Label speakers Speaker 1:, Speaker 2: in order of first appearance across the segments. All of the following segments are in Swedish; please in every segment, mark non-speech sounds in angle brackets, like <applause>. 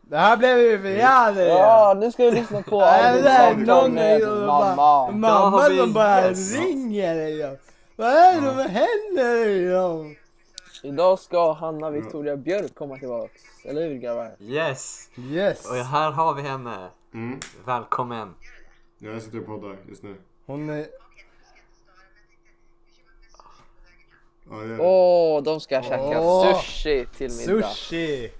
Speaker 1: Det här blev ju för jävligt.
Speaker 2: Ja, nu
Speaker 1: <laughs>
Speaker 2: ska vi lyssna på
Speaker 1: Nej, det här är någon
Speaker 2: med
Speaker 1: som bara,
Speaker 2: mamma.
Speaker 3: Då
Speaker 1: mamma
Speaker 3: har vi
Speaker 1: som bara
Speaker 3: gäst.
Speaker 1: ringer liksom. Vad är det som händer liksom?
Speaker 2: Idag ska Hanna Victoria Björk komma tillbaks. Eller hur grabbar?
Speaker 3: Yes!
Speaker 1: Yes.
Speaker 3: Och här har vi henne.
Speaker 4: Mm.
Speaker 3: Välkommen.
Speaker 4: Ja, jag sitter och poddar just nu.
Speaker 1: Hon är...
Speaker 4: Ja, det är det.
Speaker 2: Åh, de ska käka
Speaker 1: Åh.
Speaker 2: sushi till middag.
Speaker 1: Sushi!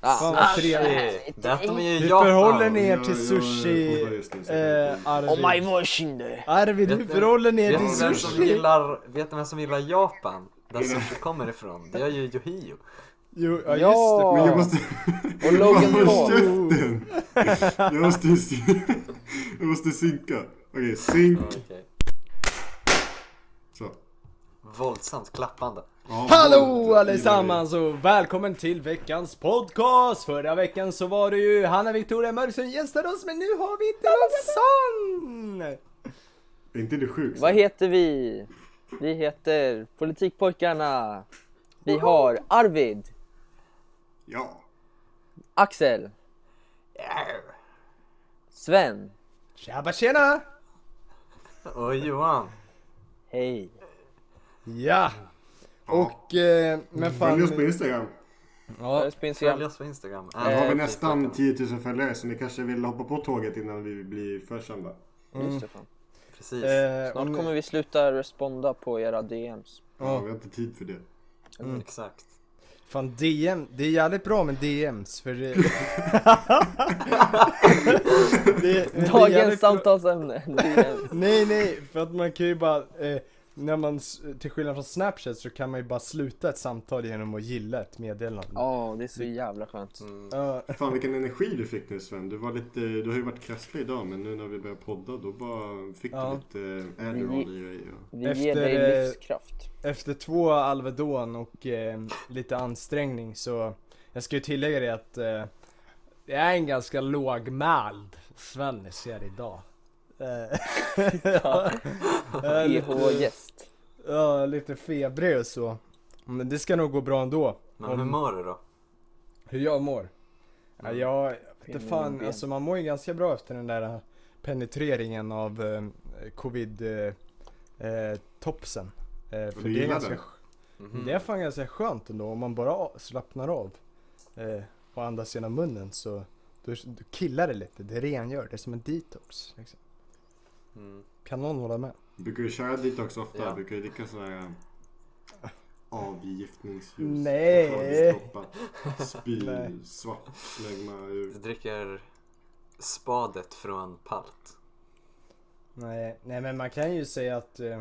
Speaker 2: Ah.
Speaker 1: Fan vad trevligt.
Speaker 3: Detta med ju
Speaker 1: Hur
Speaker 3: Japan.
Speaker 1: förhåller ni er
Speaker 4: Jag- jag
Speaker 1: till sushi,
Speaker 4: poddar just nu, så jag
Speaker 1: eh,
Speaker 4: kan
Speaker 1: Arvid?
Speaker 2: var kinder.
Speaker 1: Arvid, hur
Speaker 3: Vet-
Speaker 1: förhåller ni er
Speaker 3: Vet
Speaker 1: till
Speaker 3: ni vem som
Speaker 1: sushi?
Speaker 3: gillar, vet ni vem som gillar Japan?
Speaker 1: <laughs>
Speaker 3: Där sushi kommer ifrån. Det är ju Yohio.
Speaker 1: Jo, ja
Speaker 2: Ja.
Speaker 1: just det.
Speaker 4: Men jag måste...
Speaker 2: Och
Speaker 4: <laughs>
Speaker 2: Logan
Speaker 4: Fan, håll
Speaker 2: Paul.
Speaker 4: käften! Jag måste... <laughs> Jag måste synka. Okej, synk.
Speaker 3: Okej.
Speaker 4: Så.
Speaker 3: Våldsamt klappande.
Speaker 4: Ja,
Speaker 1: Hallå
Speaker 4: gillar
Speaker 1: allesammans och välkommen till veckans podcast! Förra veckan så var det ju Hanna Victoria Mörk som gästade oss men nu har vi inte någon sån!
Speaker 4: det. Är inte du sjuk?
Speaker 2: Vad heter vi? Vi heter Politikpojkarna. Vi har Arvid,
Speaker 4: Ja.
Speaker 2: Axel, Sven.
Speaker 1: Tjaba tjena!
Speaker 3: Och Johan.
Speaker 2: Hej.
Speaker 1: Ja!
Speaker 4: ja.
Speaker 1: Och, eh, men
Speaker 4: Följ oss
Speaker 1: fan...
Speaker 4: på Instagram.
Speaker 1: Ja,
Speaker 2: Följ oss på Instagram.
Speaker 3: Följ oss på Instagram.
Speaker 4: Då har vi
Speaker 3: Eh,
Speaker 4: nästan 10 000 följare så ni kanske vill hoppa på tåget innan vi blir för kända.
Speaker 2: Just det,
Speaker 1: Mm.
Speaker 2: fan.
Speaker 3: Precis.
Speaker 1: eh, om
Speaker 2: Snart
Speaker 1: ni-
Speaker 2: kommer vi sluta responda på era DMs.
Speaker 4: Ja, vi har inte tid för det.
Speaker 3: Mm,
Speaker 1: mm.
Speaker 3: Exakt.
Speaker 1: Fan DM, det är jävligt bra med DMs
Speaker 2: <laughs>
Speaker 1: för det... det men det är
Speaker 2: Dagens
Speaker 1: jävligt bra- <laughs>
Speaker 2: samtalsämne. DMs.
Speaker 1: Nej nej, för att man kan ju bara, eh, när man, s- till skillnad från Snapchat så kan man ju bara sluta ett samtal genom att gilla ett meddelande.
Speaker 2: Ja, det är
Speaker 1: Mm.
Speaker 2: så jävla skönt.
Speaker 1: Ja,
Speaker 4: Fan vilken energi du fick nu Sven. Du, var lite, du har ju varit krasslig idag men nu när vi började podda då bara fick
Speaker 1: Ja.
Speaker 4: du lite Adderall i dig. och-
Speaker 2: Vi ger
Speaker 1: Efter,
Speaker 2: dig
Speaker 1: eh,
Speaker 2: livskraft.
Speaker 1: efter två Alvedon och eh, lite ansträngning så, jag ska ju tillägga det att eh, jag är en ganska lågmäld Svennis är idag. Eh, <laughs> ja, jag
Speaker 2: E
Speaker 1: är lite,
Speaker 2: EH-gäst.
Speaker 1: ja, lite febrig och så. Men det ska nog gå bra ändå.
Speaker 3: Men
Speaker 1: Om-
Speaker 3: hur mår du då?
Speaker 1: Hur jag mår? Ja, jag vet inte
Speaker 2: Pinne i
Speaker 1: fan,
Speaker 2: ben.
Speaker 1: alltså man mår ju ganska bra efter den där eh, penetreringen av eh, covid-topsen. Eh, eh, topsen. eh, för det är,
Speaker 4: gillar
Speaker 1: ganska,
Speaker 4: den?
Speaker 1: sk-
Speaker 3: Mm.
Speaker 1: det är fan ganska skönt ändå om man bara a- slappnar av eh, och andas genom munnen så då, då killar det lite, det rengör, det är som en detox. Liksom.
Speaker 3: Mm.
Speaker 1: Kan någon hålla med?
Speaker 4: Brukar du köra detox ofta?
Speaker 3: Ja.
Speaker 4: Brukar du dricka sådana här äh, avgiftningsljus?
Speaker 1: Nej.
Speaker 4: Spy,
Speaker 1: Nej.
Speaker 4: svart, slägma
Speaker 3: Du
Speaker 4: ur.
Speaker 3: dricker spadet från Palt.
Speaker 1: Nej, nej men man kan ju säga att eh,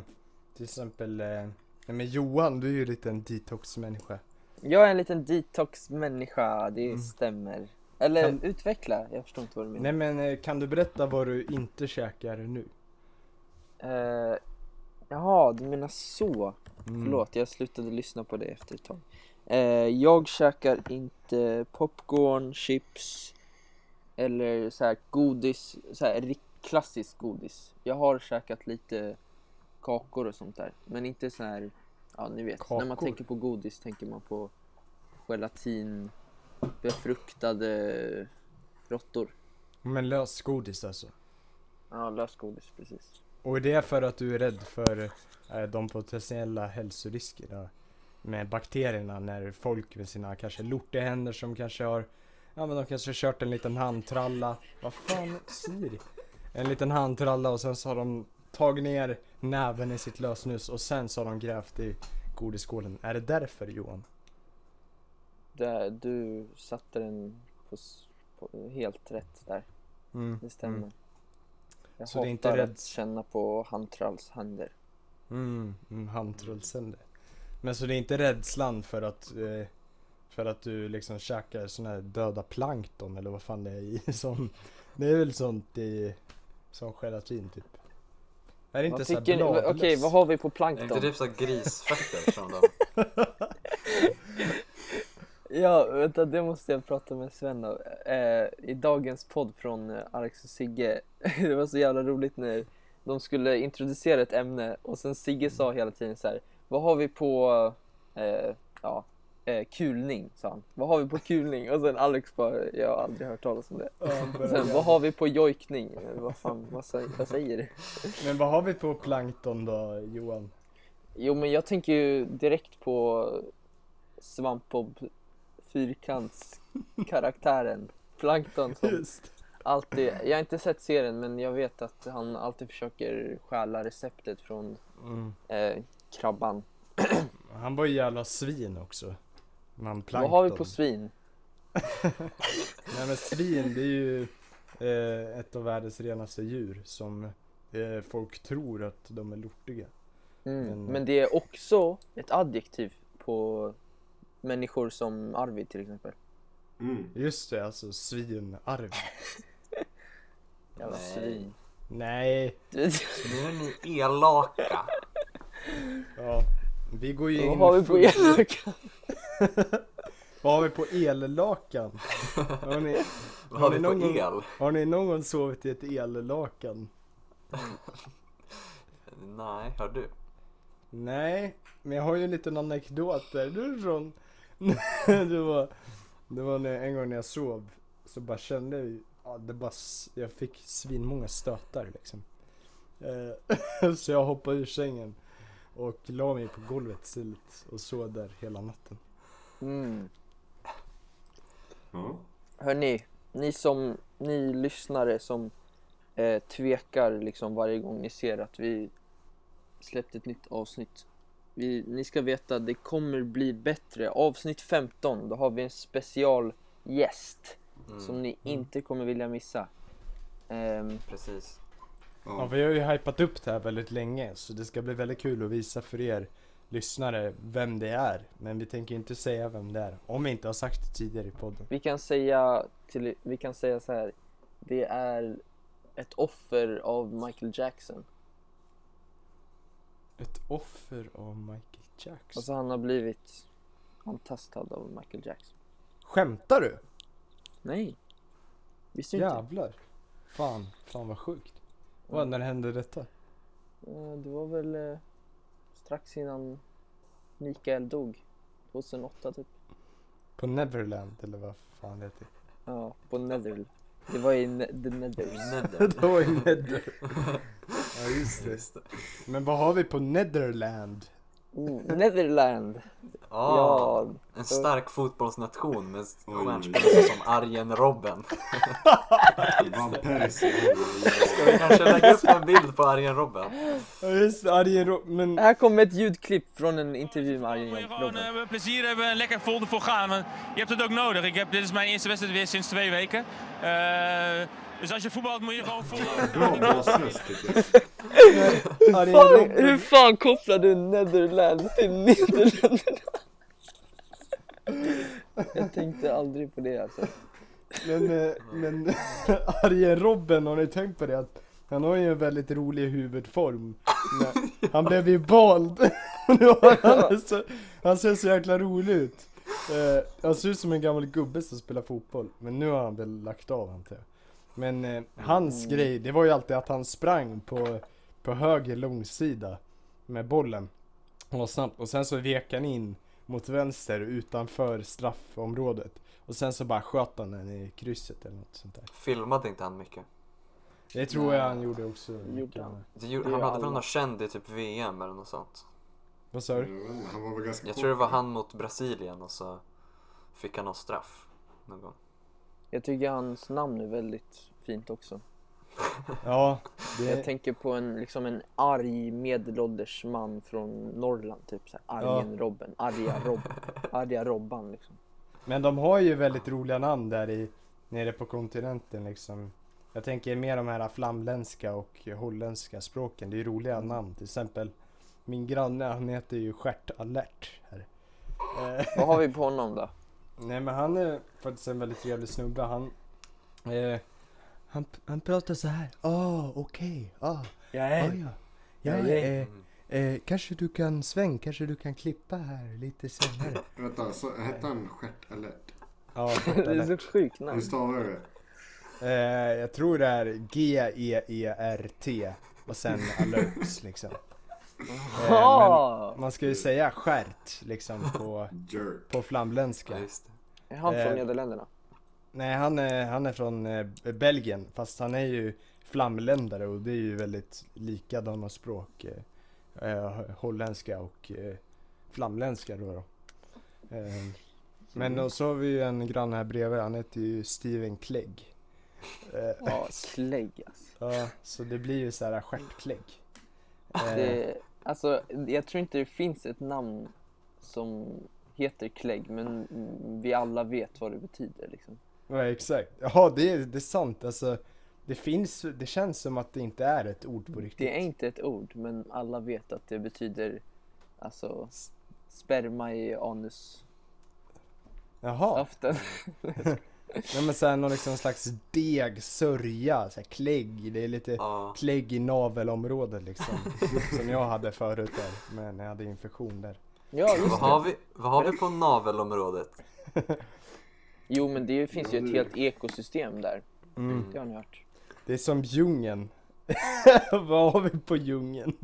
Speaker 1: till exempel, eh, nej men Johan du är ju lite en detox-människa.
Speaker 2: Jag är en liten detox-människa, det stämmer. Eller
Speaker 1: Mm. Kan-
Speaker 2: utveckla, jag förstår inte vad du menar.
Speaker 1: Nej men eh, kan du berätta vad du inte käkar nu?
Speaker 2: Eh, jaha, du menar så.
Speaker 1: Mm.
Speaker 2: Förlåt, jag slutade lyssna på det efter ett tag. Eh, jag käkar inte popcorn, chips eller så här godis, så här ri- klassiskt godis. Jag har käkat lite kakor och sånt där, men inte så här, ja ni vet, när man
Speaker 1: Kakor?
Speaker 2: tänker på godis tänker man på gelatin, befruktade råttor.
Speaker 1: Men lösgodis alltså.
Speaker 2: Ja, lösgodis precis.
Speaker 1: Och är det för att du är rädd för eh, de potentiella hälsoriskerna med bakterierna när folk med sina kanske lortehänder som kanske har, ja men de kanske har kört en liten handtralla. Vad fan Siri? En liten handtralla och sen så har de tagit ner näven i sitt lösnus och sen så har de grävt i godisskålen. Är det därför Johan?
Speaker 2: Där, du satte den på, s- på helt rätt där.
Speaker 1: Mm.
Speaker 2: Det stämmer. Jag
Speaker 1: Så det
Speaker 2: hatar
Speaker 1: är inte rädd-
Speaker 2: att känna på handtralls händer.
Speaker 1: Mm, mm handtrollsänder. Men så det är inte rädslan för att eh, för att du liksom käkar såna här döda plankton eller vad fan det är i <laughs> som Det är väl sånt i som gelatin typ. Är det inte
Speaker 2: Vad
Speaker 1: såhär
Speaker 2: tycker ni- Okej,
Speaker 1: bladlöss?
Speaker 2: vad har vi på
Speaker 3: Är inte
Speaker 2: plankton?
Speaker 3: det typ så grisfötter från dem?
Speaker 2: Ja, vänta, det måste jag prata med Sven om. Eh, I dagens podd från eh, Alex och Sigge. <laughs> det var så jävla roligt när de skulle introducera ett ämne och sen Sigge sa hela tiden så här. Vad har vi på eh, ja, eh, kulning, sa han. Vad har vi på kulning? Och sen Alex bara, jag har aldrig hört talas om det. Och <laughs> sen, vad har vi på jojkning? Eh, Vad fan, vad säger, vad säger du?
Speaker 1: Men vad har vi på plankton då Johan?
Speaker 2: Jo, men jag tänker ju direkt på Svampbob Fyrkantskaraktären. Plankton som
Speaker 1: Just.
Speaker 2: alltid, jag har inte sett serien men jag vet att han alltid försöker stjäla receptet från
Speaker 1: Mm.
Speaker 2: eh, krabban.
Speaker 1: Han var ju jävla svin också. Man plankton.
Speaker 2: Vad har vi på svin?
Speaker 1: Nej men svin det är ju eh, ett av världens renaste djur som eh, folk tror att de är lortiga.
Speaker 2: Mm.
Speaker 1: Men-
Speaker 2: Men det är också ett adjektiv på människor som Arvid till exempel.
Speaker 4: Mm.
Speaker 1: Just det, alltså svinarv.
Speaker 2: Jävla
Speaker 3: Nej.
Speaker 2: svin.
Speaker 1: Nej,
Speaker 3: Nu är ni elaka.
Speaker 1: ja. Vi går ju
Speaker 2: Vad
Speaker 1: in
Speaker 2: har
Speaker 1: i
Speaker 2: vi på
Speaker 1: full-
Speaker 2: elöka?
Speaker 1: Vad har vi på ellakan? Har ni,
Speaker 3: Vad har vi på
Speaker 1: någon gång-
Speaker 3: el?
Speaker 1: har ni någon gång sovit i ett ellakan?
Speaker 3: Nej, har du?
Speaker 1: Nej, men jag har ju en liten anekdot där. Det var, från, <laughs> det var, det var när, en gång när jag sov så bara kände jag, ja, det bara, s- jag fick svinmånga stötar liksom. Eh, <laughs> så jag hoppade ur sängen och la mig på golvet stiligt och sov där hela natten.
Speaker 2: Mm.
Speaker 4: Ja.
Speaker 2: Hörni, ni som, ni lyssnare som eh, tvekar liksom varje gång ni ser att vi släppt ett nytt avsnitt. Vi, ni ska veta, det kommer bli bättre. Avsnitt 15, då har vi en specialgäst som ni inte kommer vilja missa. Ehm,
Speaker 3: Precis.
Speaker 1: Ja,
Speaker 4: Ja.
Speaker 1: vi har ju hypat upp det här väldigt länge så det ska bli väldigt kul att visa för er lyssnare vem det är. Men vi tänker inte säga vem det är om vi inte har sagt det tidigare i podden.
Speaker 2: vi kan säga till, vi kan säga så här, det är ett offer av Michael Jackson.
Speaker 1: Ett offer av Michael Jackson.
Speaker 2: Alltså han har blivit antastad av Michael Jackson.
Speaker 1: Skämtar du?
Speaker 2: Nej, visste du inte?
Speaker 1: Jävlar. Fan, fan vad sjukt. Vad, när hände detta?
Speaker 2: Eh, Det var väl eh, strax innan Mikael dog. 2008 typ.
Speaker 1: På Neverland eller vad fan det heter? <laughs>
Speaker 2: Ja, på Netherl. Det var i ne- The Nethers. <laughs>
Speaker 3: Nether.
Speaker 1: Det var ju Nether. <laughs> ja just det.
Speaker 3: Just det.
Speaker 1: Men vad har vi på Netherland?
Speaker 2: Oh, Netherland!
Speaker 3: Ja,
Speaker 2: Ja,
Speaker 3: Ah, en stark fotbollsnation med
Speaker 4: Oj.
Speaker 3: stjärnspelare som Arjen Robben.
Speaker 4: Van Persie. Ja.
Speaker 3: <laughs> Ska vi kanske lägga upp en bild på Arjen Robben?
Speaker 1: Ja just det, Arjen Ro- men
Speaker 2: här kommer ett ljudklipp från en intervju med Arjen
Speaker 5: Moet je
Speaker 2: Robben.
Speaker 5: gewoon eh, plezier hebben en lekker vol ervoor gaan. Want je hebt het ook nodig. Ik heb, dit is mijn eerste wedstrijd weer sinds twee weken. Eh, dus als je voetbalt moet je gewoon vol.
Speaker 4: Bra basröst tycker jag.
Speaker 1: Arjen
Speaker 2: Fan,
Speaker 1: Robben.
Speaker 2: hur fan kopplar du Netherland till Nederländerna? Jag tänkte aldrig på det alltså.
Speaker 1: Men, eh, men <laughs> Arjen Robben, har ni tänkt på det? Att han har ju en väldigt rolig huvudform. Men Han blev ju bald. <laughs> Nu har han, så, han ser så jäkla rolig ut. Eh, han ser ut som en gammal gubbe som spelar fotboll. Men nu har han väl lagt av antar jag. Men eh, hans grej, det var ju alltid att han sprang på, på höger långsida med bollen. Han var snabbt. Och sen så vek han in mot vänster utanför straffområdet. Och sen så bara sköt han den i krysset eller något sånt där.
Speaker 3: Filmade inte han mycket?
Speaker 1: Det tror jag han gjorde också.
Speaker 2: Gjorde han?
Speaker 3: Det gjorde,
Speaker 2: Det
Speaker 3: han
Speaker 2: gör
Speaker 3: hade väl
Speaker 2: alla.
Speaker 3: någon känd i typ VM eller något sånt?
Speaker 1: Vad sa du?
Speaker 4: Han var väl ganska
Speaker 3: Jag
Speaker 4: kort.
Speaker 3: tror det var han mot Brasilien och så fick han någon straff. Någon gång.
Speaker 2: Jag tycker hans namn är väldigt fint också.
Speaker 1: Ja,
Speaker 2: Jag
Speaker 1: det,
Speaker 2: tänker på en, liksom en arg medelålders man från Norrland, typ såhär Arjen Robben,
Speaker 1: <laughs>
Speaker 2: arga, Rob, arga Robban liksom.
Speaker 1: men de har ju väldigt roliga namn där i, nere på kontinenten liksom. Jag tänker mer de här flamländska och holländska språken. Det är ju roliga
Speaker 2: Mm.
Speaker 1: namn. Till exempel min granne, han heter ju Stjärt Alert här. Eh,
Speaker 2: Vad har vi på honom då?
Speaker 1: nej men han är faktiskt en väldigt trevlig snubbe. Han, eh, han, han pratar så här. Ah, okej. Ah,
Speaker 2: Jag
Speaker 1: ah, ja.
Speaker 2: Ja,
Speaker 1: Ja,
Speaker 2: ja.
Speaker 1: eh, eh, kanske du kan sväng, kanske du kan klippa här lite senare.
Speaker 4: Vänta, så hette han Stjärt Alert?
Speaker 1: <laughs> Ja,
Speaker 2: Det är så sjukt
Speaker 4: Hur
Speaker 2: namn.
Speaker 4: stavar jag det?
Speaker 1: Eh, jag tror det är G-E-E-R-T och sen alerts liksom. Eh, men
Speaker 2: Ah!
Speaker 1: man ska ju säga skärt liksom på,
Speaker 4: Jerk.
Speaker 1: på
Speaker 3: Ja,
Speaker 1: flamländska.
Speaker 3: just det.
Speaker 2: Är han från
Speaker 1: eh,
Speaker 2: Nederländerna?
Speaker 1: Nej, han är, han är från eh, Belgien, fast han är ju flamländare och det är ju väldigt likadana språk. Eh, eh, holländska och eh, flamländska då. då. Eh, men och så har vi ju en granne här bredvid, han heter ju Steven Clegg. Eh,
Speaker 2: Ja, Slegg alltså.
Speaker 1: ja, så det blir ju så här stjärtklägg. Eh,
Speaker 2: Det, alltså, jag tror inte det finns ett namn som heter Klegg, men vi alla vet vad det betyder liksom.
Speaker 1: ja, exakt. Ja, det, är- det är sant. Alltså, det finns, det känns som att det inte är ett ord på riktigt.
Speaker 2: Det är inte ett ord, men alla vet att det betyder alltså sperma i anus.
Speaker 1: Jaha.
Speaker 2: Aften.
Speaker 1: Ja men såhär någon liksom slags deg, sörja, såhär klägg. Det är lite
Speaker 3: Ja.
Speaker 1: klägg i navelområdet liksom. som jag hade förut där. Men jag hade infektion där.
Speaker 2: <laughs> Ja,
Speaker 3: Vad
Speaker 2: just det.
Speaker 3: har, vi, vad har vi på navelområdet?
Speaker 2: Jo, men det finns ju ett helt ekosystem där.
Speaker 1: Mm.
Speaker 2: Det har ni hört.
Speaker 1: Det är som djungeln. <laughs> Vad har vi på djungeln?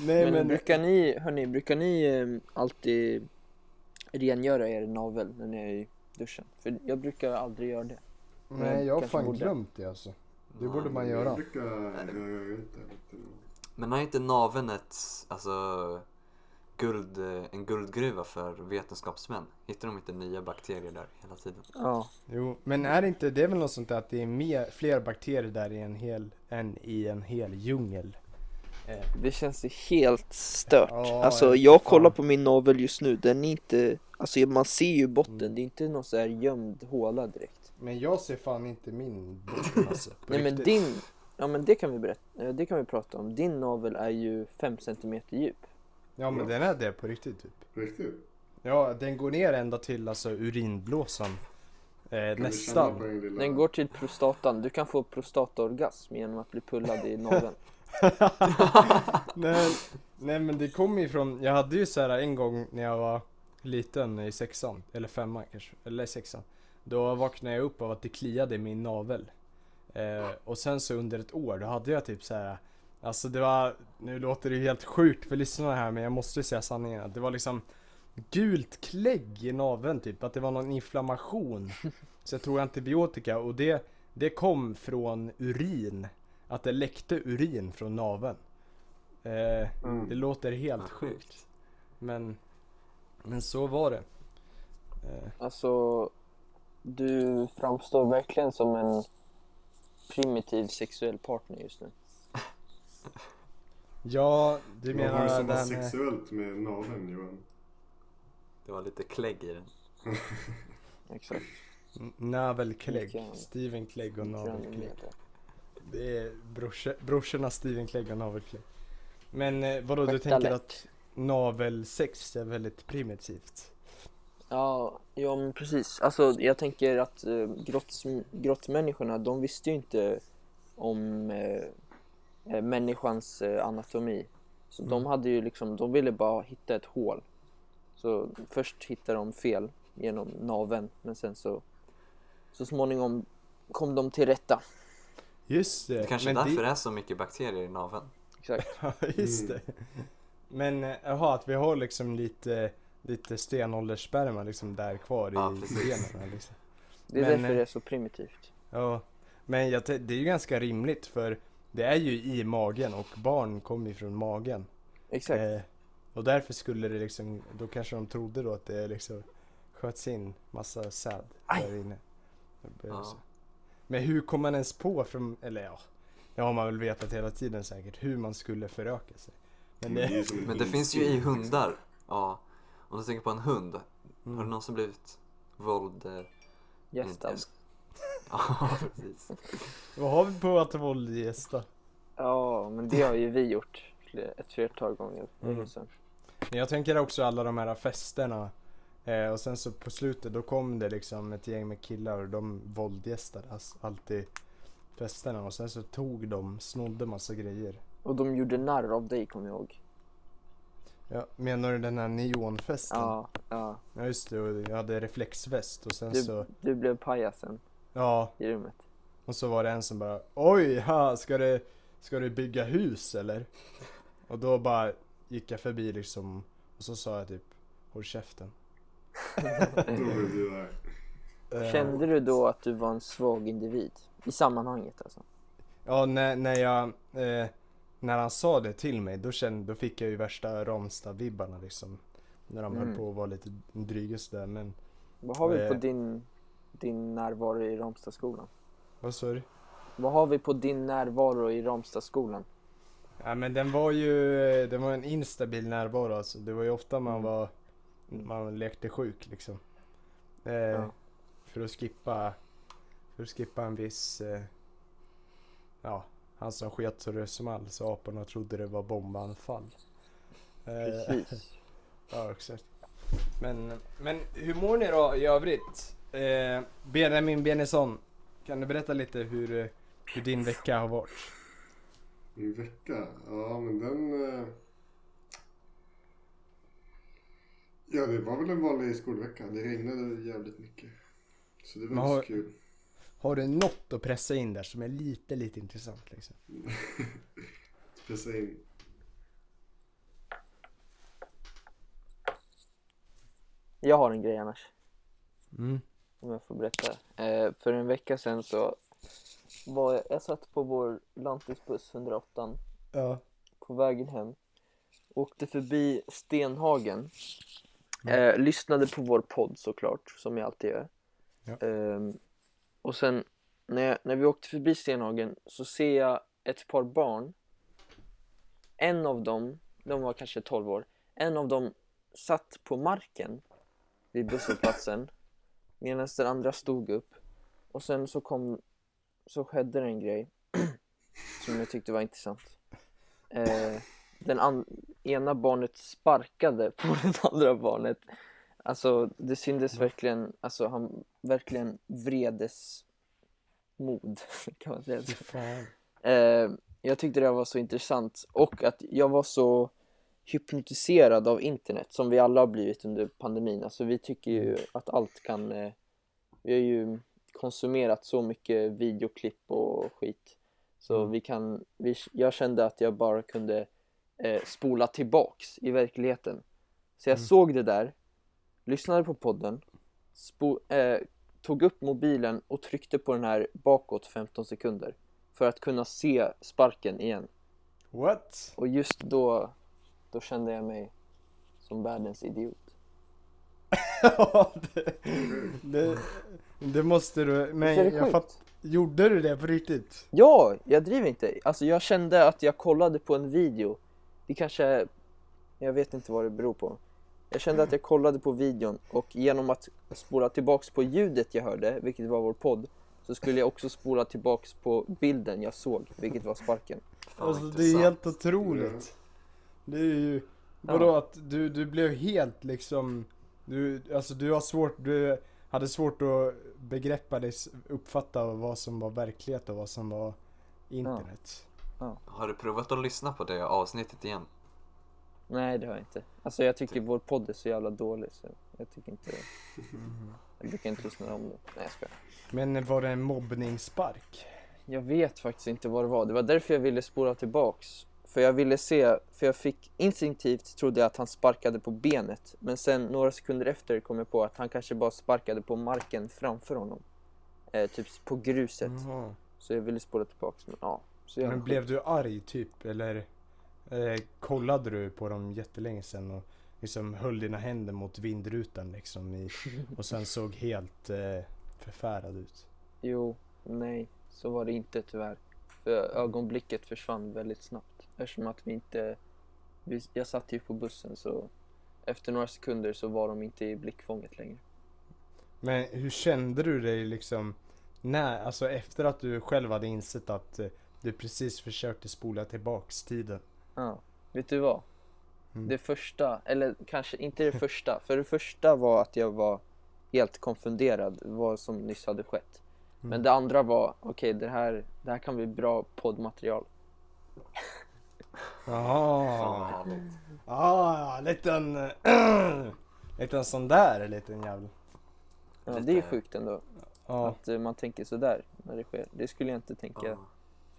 Speaker 1: Nej
Speaker 2: Men,
Speaker 1: men,
Speaker 2: brukar ni, hörni, brukar ni eh, alltid rengöra er navel när ni är i duschen? För jag brukar aldrig göra det.
Speaker 1: nej jag har
Speaker 2: kanske
Speaker 1: fan
Speaker 2: borde.
Speaker 1: glömt det alltså. Det borde man
Speaker 4: Jag
Speaker 1: göra.
Speaker 4: brukar röra runt där lite.
Speaker 3: Men har inte naveln ett, alltså, guld, en guldgruva för vetenskapsmän? Hittar de inte nya bakterier där hela tiden?
Speaker 2: Ja.
Speaker 1: Jo, men är det inte, det är väl något sånt där att det är mer, fler bakterier där i en hel, än i en hel djungel.
Speaker 2: Det känns ju helt stört.
Speaker 1: Ja,
Speaker 2: alltså
Speaker 1: ja,
Speaker 2: jag
Speaker 1: fan.
Speaker 2: kollar på min navel just nu, den är inte... Alltså man ser ju botten, det är inte någon så här gömd håla direkt.
Speaker 1: Men jag ser fan inte min botten alltså. på
Speaker 2: Nej men
Speaker 1: riktigt.
Speaker 2: din... Ja men det kan vi berätta, eh, det kan vi prata om. Din navel är ju 5 cm djup.
Speaker 1: Ja men den är det på riktigt typ.
Speaker 4: Riktigt?
Speaker 1: Ja, den går ner ända till alltså urinblåsan.
Speaker 4: Kan
Speaker 1: Eh,
Speaker 4: du känna på
Speaker 1: nästan.
Speaker 4: den lilla-
Speaker 2: Den går till prostatan, du kan få prostataorgasm genom att bli pullad i naveln.
Speaker 1: Nej, nej men det kommer ju från, jag hade ju så här en gång när jag var liten i sexan, eller femman kanske, eller sexan. Då vaknade jag upp av att det kliade i min navel. Eh, och sen så under ett år, då hade jag typ så här. Alltså det var, nu låter det ju helt sjukt för lyssnarna här men jag måste ju säga sanningen. att Det var liksom gult klägg i naveln typ, att det var någon inflammation. Så jag tog antibiotika och det, det kom från urin. Att det läckte urin från naveln. Eh,
Speaker 4: Mm.
Speaker 1: Det låter
Speaker 3: Vad
Speaker 1: helt
Speaker 3: sjukt.
Speaker 1: men, men så var det. Eh,
Speaker 2: Alltså, du framstår verkligen som en primitiv sexuell partner just nu.
Speaker 1: ja, du
Speaker 4: Vad var
Speaker 1: menar
Speaker 4: det som
Speaker 1: den...
Speaker 4: var
Speaker 1: eh,
Speaker 4: sexuellt med naveln Johan?
Speaker 3: Det var lite klägg i den.
Speaker 2: Exakt.
Speaker 1: N- Navel Clegg.
Speaker 2: Mycket.
Speaker 1: Steven Clegg och Navel Clegg.
Speaker 2: Grannmedel.
Speaker 1: Det är brorsor, brorsorna Steven Clegg och Navel Clegg. Men eh, vadå, du
Speaker 2: Skötta
Speaker 1: tänker
Speaker 2: lätt.
Speaker 1: att navelsex är väldigt primitivt?
Speaker 2: Ja, ja men precis. Alltså, jag tänker att eh, grotts, grottmänniskorna, de visste ju inte om eh, eh, människans eh, anatomi. Så
Speaker 1: Mm.
Speaker 2: de hade ju liksom, de ville bara hitta ett hål. Så först hittade de fel genom naveln, men sen så, så småningom kom de till rätta.
Speaker 1: Just det.
Speaker 3: Det kanske är
Speaker 1: men
Speaker 3: därför det är så mycket bakterier i naveln.
Speaker 2: Exakt.
Speaker 1: det... Just det. Men eh, jaha, att vi har liksom lite, lite stenålderssperma liksom där kvar
Speaker 3: Ja,
Speaker 1: i
Speaker 3: precis.
Speaker 1: generna liksom.
Speaker 2: Det är
Speaker 1: Men,
Speaker 2: därför
Speaker 1: eh,
Speaker 2: det är så primitivt.
Speaker 1: Ja, men jag tän- det är ju ganska rimligt för det är ju i magen och barn kommer ju från magen.
Speaker 2: Exakt.
Speaker 1: Eh, och därför skulle det liksom, då kanske de trodde då att det liksom sköts in massa säd där inne. Det blev
Speaker 3: Ja.
Speaker 1: så. Men hur kom man ens på från, eller ja, det har man väl vetat hela tiden säkert, hur man skulle föröka sig. Men
Speaker 4: är
Speaker 1: det,
Speaker 4: ju som ett
Speaker 3: Men det finns ju i hundar. Ja. Om du tänker på en hund.
Speaker 1: Mm.
Speaker 3: Har det någon som blivit våld... eh,
Speaker 1: <laughs>
Speaker 3: inte
Speaker 2: Gästan.
Speaker 3: ens- Ja,
Speaker 1: Alltså,
Speaker 3: precis.
Speaker 1: vad har vi på att våld i gästa?
Speaker 2: Ja, men det har ju vi gjort fler- ett flertal gånger.
Speaker 1: Mm.
Speaker 2: Sen.
Speaker 1: Men jag tänker också alla de här festerna. Eh, och sen så på slutet då kom det liksom ett gäng med killar och de våldgästade ass- alltid festerna. Och sen så tog de, snodde massa grejer.
Speaker 2: Och de gjorde narr av dig, kommer jag ihåg.
Speaker 1: Ja, menar du den här neonfesten?
Speaker 2: Ja, ja.
Speaker 1: Ja just det, och jag hade reflexväst och sen
Speaker 2: Du,
Speaker 1: så,
Speaker 2: du blev pajasen
Speaker 1: ja,
Speaker 2: i rummet.
Speaker 1: och så var det en som bara Oj, ha, ska, du, ska du bygga hus eller? Och då bara gick jag förbi liksom och så sa jag typ Håll käften.
Speaker 4: Då blev du arg.
Speaker 1: Eh,
Speaker 2: Kände du då att du var en svag individ? I sammanhanget alltså?
Speaker 1: Ja, när, när jag... Eh, när han sa det till mig, då, kände, då fick jag ju värsta Ramstad-vibbarna liksom. När de höll
Speaker 2: Mm.
Speaker 1: på att vara lite dryga sådär, men...
Speaker 2: Vad har vi på
Speaker 1: Eh.
Speaker 2: din, din närvaro i Ramstadskolan?
Speaker 1: Vad sa du?
Speaker 2: Vad har vi på din närvaro i Ramstadskolan?
Speaker 1: Ja, men den var ju... eh, Den var en instabil närvaro alltså. Det var ju ofta man
Speaker 2: Mm.
Speaker 1: var... Man lekte sjuk liksom. Eh,
Speaker 2: Ja.
Speaker 1: För att skippa... För att skippa en viss... Eh, ja, han som sköt så det small så aporna trodde det var bombanfall. Eh,
Speaker 2: Precis.
Speaker 1: Ja, exakt. Men, men hur mår ni då i övrigt? Eh, Benjamin Benison, kan du berätta lite hur, eh, hur din vecka har varit?
Speaker 4: Min vecka? Ja, men den... eh, Ja, det var väl en vanlig skolvecka. Det regnade jävligt mycket. Så det var
Speaker 1: Men
Speaker 4: inte
Speaker 1: har-
Speaker 4: så kul.
Speaker 1: Har du något att pressa in där som är lite, lite intressant liksom?
Speaker 4: Pressa in.
Speaker 2: Jag har en grej annars.
Speaker 1: Mm.
Speaker 2: Om jag får berätta. Eh, för en vecka sedan så var jag, jag satt på vår lantisbuss 108
Speaker 1: Ja.
Speaker 2: på vägen hem. Åkte förbi Stenhagen. Eh, lyssnade på vår podd såklart, som jag alltid gör.
Speaker 1: Ja.
Speaker 2: Ehm, och sen när, jag, när vi åkte förbi Stenhagen så ser jag ett par barn. En av dem, de var kanske 12 år, en av dem satt på marken vid busshållplatsen <laughs> medan den andra stod upp. Och sen så kom, så skedde det en grej <clears throat> som jag tyckte var intressant. Eh, den an- ena barnet sparkade på <laughs> det andra barnet. Alltså det syntes verkligen, alltså han verkligen vredes mod <laughs> kan man säga.
Speaker 1: Fy fan.
Speaker 2: Eh, jag tyckte det var så intressant och att jag var så hypnotiserad av internet som vi alla har blivit under pandemin. Alltså vi tycker ju att allt kan... Eh, vi har ju konsumerat så mycket videoklipp och skit. Så vi kan... Vi, jag kände att jag bara kunde eh, spola tillbaks i verkligheten. Så jag såg det där, lyssnade på podden, spo, eh, tog upp mobilen och tryckte på den här bakåt 15 sekunder för att kunna se sparken igen.
Speaker 1: What?
Speaker 2: Och just då, då kände jag mig som världens idiot.
Speaker 1: <laughs> Ja, det, det, det måste du... Men
Speaker 2: Visst är det
Speaker 1: jag
Speaker 2: sjukt?
Speaker 1: fatt, Gjorde du det på riktigt?
Speaker 2: Ja, jag driver inte. Alltså jag kände att jag kollade på en video. Det kanske, jag vet inte vad det beror på. Jag kände att jag kollade på videon och genom att spola tillbaks på ljudet jag hörde, vilket var vår podd, så skulle jag också spola tillbaks på bilden jag såg, vilket var sparken.
Speaker 3: Fan,
Speaker 1: alltså
Speaker 3: vad
Speaker 1: det är
Speaker 3: intressant.
Speaker 1: helt otroligt. Det är ju, vadå
Speaker 2: Ja.
Speaker 1: att du, du blev helt liksom, du, alltså du har svårt, du hade svårt att begreppa dig, s- uppfatta vad som var verklighet och vad som var internet.
Speaker 3: Har du provat att lyssna på det avsnittet igen?
Speaker 2: Nej, det har jag inte. Alltså jag tycker vår podd är så jävla dålig så jag tycker inte
Speaker 1: <laughs>
Speaker 2: det. Jag brukar inte lyssna om det. Nej, jag skojar.
Speaker 1: Men var det en mobbningsspark?
Speaker 2: Jag vet faktiskt inte vad det var. Det var därför jag ville spola tillbaks. För jag ville se, för jag fick instinktivt trodde jag att han sparkade på benet. Men sen några sekunder efter kom jag på att han kanske bara sparkade på marken framför honom. Eh, typ på gruset.
Speaker 1: Jaha.
Speaker 2: Så jag ville spola tillbaks. Men ja. Så jag,
Speaker 1: Mm. Men blev du arg typ eller eh, kollade du på dem jättelänge sen och liksom höll dina händer mot vindrutan liksom i, och sen såg helt eh, förfärad ut?
Speaker 2: Jo, nej. Så var det inte tyvärr. För ögonblicket försvann väldigt snabbt. Eftersom att vi inte... Vi, jag satt ju på bussen så efter några sekunder så var de inte i blickfånget längre.
Speaker 1: Men hur kände du dig liksom när, alltså efter att du själv hade insett att eh, du precis försökte spola tillbaks tiden?
Speaker 2: Ja, vet du vad?
Speaker 1: Mm.
Speaker 2: Det första, eller kanske inte det första, för det första var att jag var helt konfunderad vad som nyss hade skett. Men det andra var, okej det, här, det här kan bli bra poddmaterial.
Speaker 3: Fan vad
Speaker 1: Jaha,
Speaker 3: härligt.
Speaker 1: ah, liten, <clears throat> eh, liten sån där liten jävel.
Speaker 2: Ja,
Speaker 3: Lite-
Speaker 2: det är ju sjukt ändå,
Speaker 1: Ja,
Speaker 2: att eh, man tänker sådär när det sker. Det skulle jag inte tänka
Speaker 3: Ja.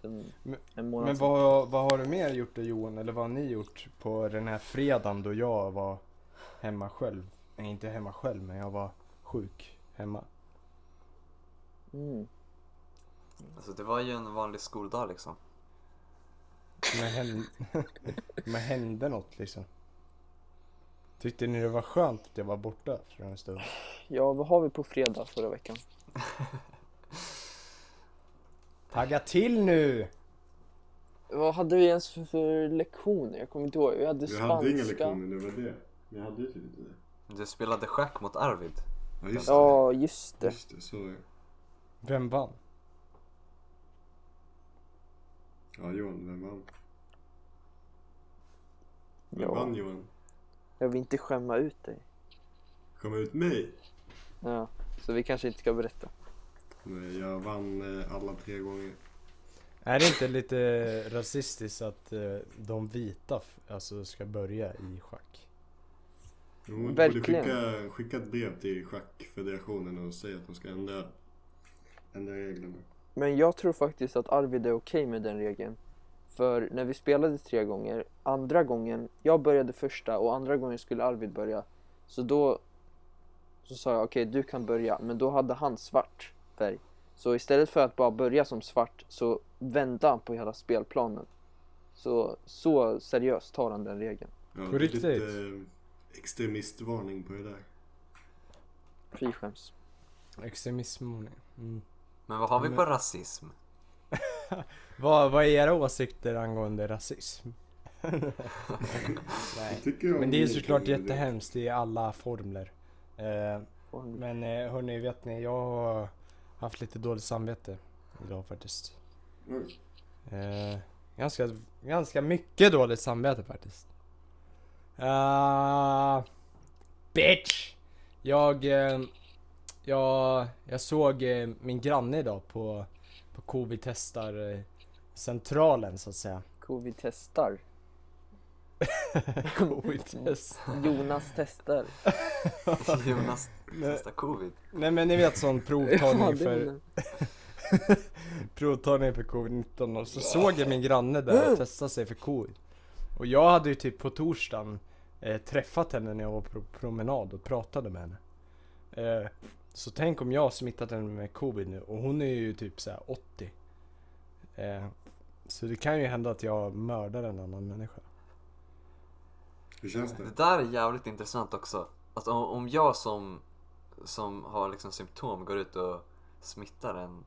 Speaker 2: för sen
Speaker 1: Men-
Speaker 2: en månad
Speaker 1: Men
Speaker 2: sedan.
Speaker 1: vad, vad har du mer gjort då Johan, eller vad har ni gjort på den här fredagen då jag var hemma själv? Nej, inte hemma själv, men jag var sjuk hemma.
Speaker 2: Mm.
Speaker 3: Alltså det var ju en vanlig skoldag liksom.
Speaker 1: Men, hän... men hände något liksom? Tyckte ni det var skönt att jag var borta för en stund?
Speaker 2: Ja, vad har vi på fredag förra veckan?
Speaker 1: Tagga till nu!
Speaker 2: Vad hade vi ens för, för lektioner? Jag kommer inte ihåg. Vi hade
Speaker 4: Vi
Speaker 2: spanska.
Speaker 4: hade inga lektioner, det var det. Vi hade ju typ inte det.
Speaker 3: Du spelade schack mot Arvid.
Speaker 4: Ja, just det.
Speaker 2: Ja, just det.
Speaker 4: Just det, så var det.
Speaker 1: Vem vann?
Speaker 4: Ja, Johan, vem vann? Vem
Speaker 2: Ja.
Speaker 4: vann Johan?
Speaker 2: Jag vill inte skämma ut dig.
Speaker 4: Kom ut mig!
Speaker 2: Ja, så vi kanske inte ska berätta.
Speaker 4: Nej, jag vann eh, alla tre gånger.
Speaker 1: Är det inte lite rasistiskt att eh, de vita f- alltså ska börja i schack?
Speaker 4: Jo, men Du borde
Speaker 2: Verkligen.
Speaker 4: skicka, skicka ett brev till schackfederationen och säga att de ska ändra, ändra reglerna.
Speaker 2: Men jag tror faktiskt att Arvid är okej med den regeln. För när vi spelade tre gånger, andra gången, jag började första och andra gången skulle Arvid börja. Så då så sa jag okej, du kan börja, men då hade han svart färg. Så istället för att bara börja som svart så vände han på hela spelplanen. Så, så seriöst tar han den regeln.
Speaker 4: Ja,
Speaker 1: På
Speaker 4: det är
Speaker 1: riktigt?
Speaker 4: Lite, eh, extremistvarning på det där.
Speaker 2: Fy skäms.
Speaker 1: Extremism. Mm.
Speaker 3: Men vad har vi
Speaker 1: Men- <laughs>
Speaker 3: på rasism?
Speaker 1: Vad, vad är era åsikter angående rasism? Nej.
Speaker 4: Jag tycker om
Speaker 1: Men det är såklart
Speaker 2: Mm.
Speaker 4: egentligen
Speaker 1: jättehemskt i alla formler. Eh,
Speaker 2: Fan.
Speaker 1: Men eh, hörni, vet ni, jag har haft lite dåligt samvete idag faktiskt.
Speaker 2: Mm.
Speaker 4: Oj.
Speaker 1: Eh, ganska, ganska mycket dåligt samvete faktiskt. Ah, bitch! Jag, eh, jag, jag såg eh, min granne idag på, på covid-testar eh, centralen så
Speaker 2: <laughs>
Speaker 1: att säga. <laughs>
Speaker 2: Covid <laughs> testar.
Speaker 1: covid-test.
Speaker 2: Jonas testar.
Speaker 3: Jonas testar covid.
Speaker 1: Nej men ni vet sån
Speaker 2: Ja,
Speaker 1: provtagning
Speaker 2: det
Speaker 1: för,
Speaker 2: menar-
Speaker 1: provtagning för covid-19 och så såg jag min granne där och testa sig för covid. Och jag hade ju typ på torsdagen eh, träffat henne när jag var på promenad och pratade med henne. Eh, så tänk om jag har smittat henne med covid nu och hon är ju typ såhär 80. Eh, så det kan ju hända att jag mördar en annan människa.
Speaker 4: Hur känns
Speaker 3: Det
Speaker 4: det?
Speaker 3: där är jävligt intressant också. Att om, om jag som, som har liksom symptom går ut och smittar en,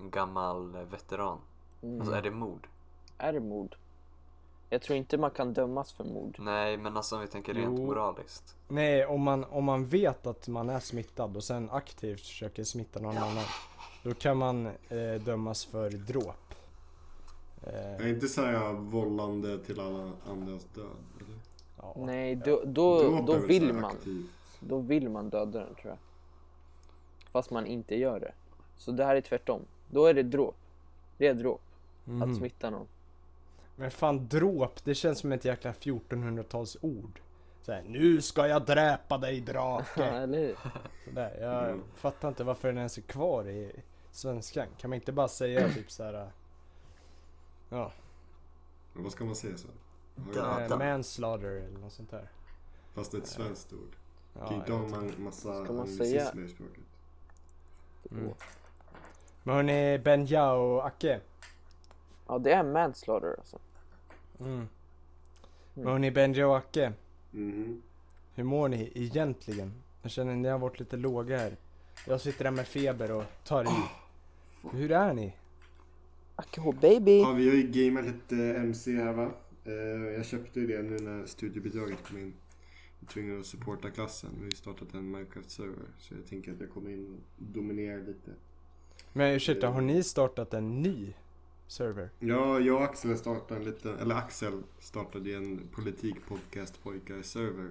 Speaker 3: en gammal veteran.
Speaker 2: Mm.
Speaker 3: Alltså är det mord?
Speaker 2: Är det mord? Jag tror inte man kan dömas för mord.
Speaker 3: Nej men alltså om vi tänker rent
Speaker 1: Jo.
Speaker 3: moraliskt.
Speaker 1: Nej, om man, om man vet att man är smittad och sen aktivt försöker smitta någon annan. Då kan man eh, dömas för dråp. Eh,
Speaker 4: Jag är inte såhär vållande till alla andras död. Eller?
Speaker 1: ja.
Speaker 2: Nej, då, då,
Speaker 4: Dråp är
Speaker 2: då
Speaker 4: väl
Speaker 2: vill
Speaker 4: såhär
Speaker 2: man.
Speaker 4: aktiv.
Speaker 2: Då vill man döda den tror jag. Fast man inte gör det. Så det här är tvärtom. Då är det dråp. Det är dråp.
Speaker 1: Mhm.
Speaker 2: Att smitta någon.
Speaker 1: Men fan dråp, det känns som ett jäkla 1400-talsord. Såhär, nu ska jag dräpa dig
Speaker 2: Ja, <laughs>
Speaker 1: drake.
Speaker 2: eller hur?
Speaker 1: Sådär, jag
Speaker 4: Mm.
Speaker 1: fattar inte varför den ens är kvar i svenskan. Kan man inte bara säga typ såhär... eh, Ja,
Speaker 4: Men vad ska man säga så? Har
Speaker 3: Död.
Speaker 4: jag-
Speaker 1: eh,
Speaker 3: Adam.
Speaker 1: manslaughter eller något sånt där.
Speaker 4: Fast ett svenskt ord.
Speaker 1: Ja,
Speaker 4: det är
Speaker 1: jag
Speaker 4: idag
Speaker 1: vet inte.
Speaker 4: man massa
Speaker 2: Ska man
Speaker 4: anglicismer
Speaker 2: säga-
Speaker 4: i språket.
Speaker 1: Mm. Men hörni, Benja och Acke.
Speaker 2: Ja, det är manslaughter alltså.
Speaker 1: Mm. Men hörni Benja och Acke,
Speaker 4: Mhm.
Speaker 1: hur mår ni egentligen? Jag känner ni har varit lite låga här. Jag sitter där med feber och tar i. Hur är ni?
Speaker 2: Akho baby!
Speaker 4: Ja, vi har ju gamat lite MC här va. Eh, Jag köpte ju det nu när studiebidraget kom in. Jag är tvungen att supporta klassen. Vi har ju startat en Minecraft-server. Så jag tänker att jag kommer in och dominerar lite.
Speaker 1: Men ursäkta, har ni startat en ny server?
Speaker 4: Ja, jag och Axel startade en liten, eller Axel startade ju en politikpodcast pojkar server.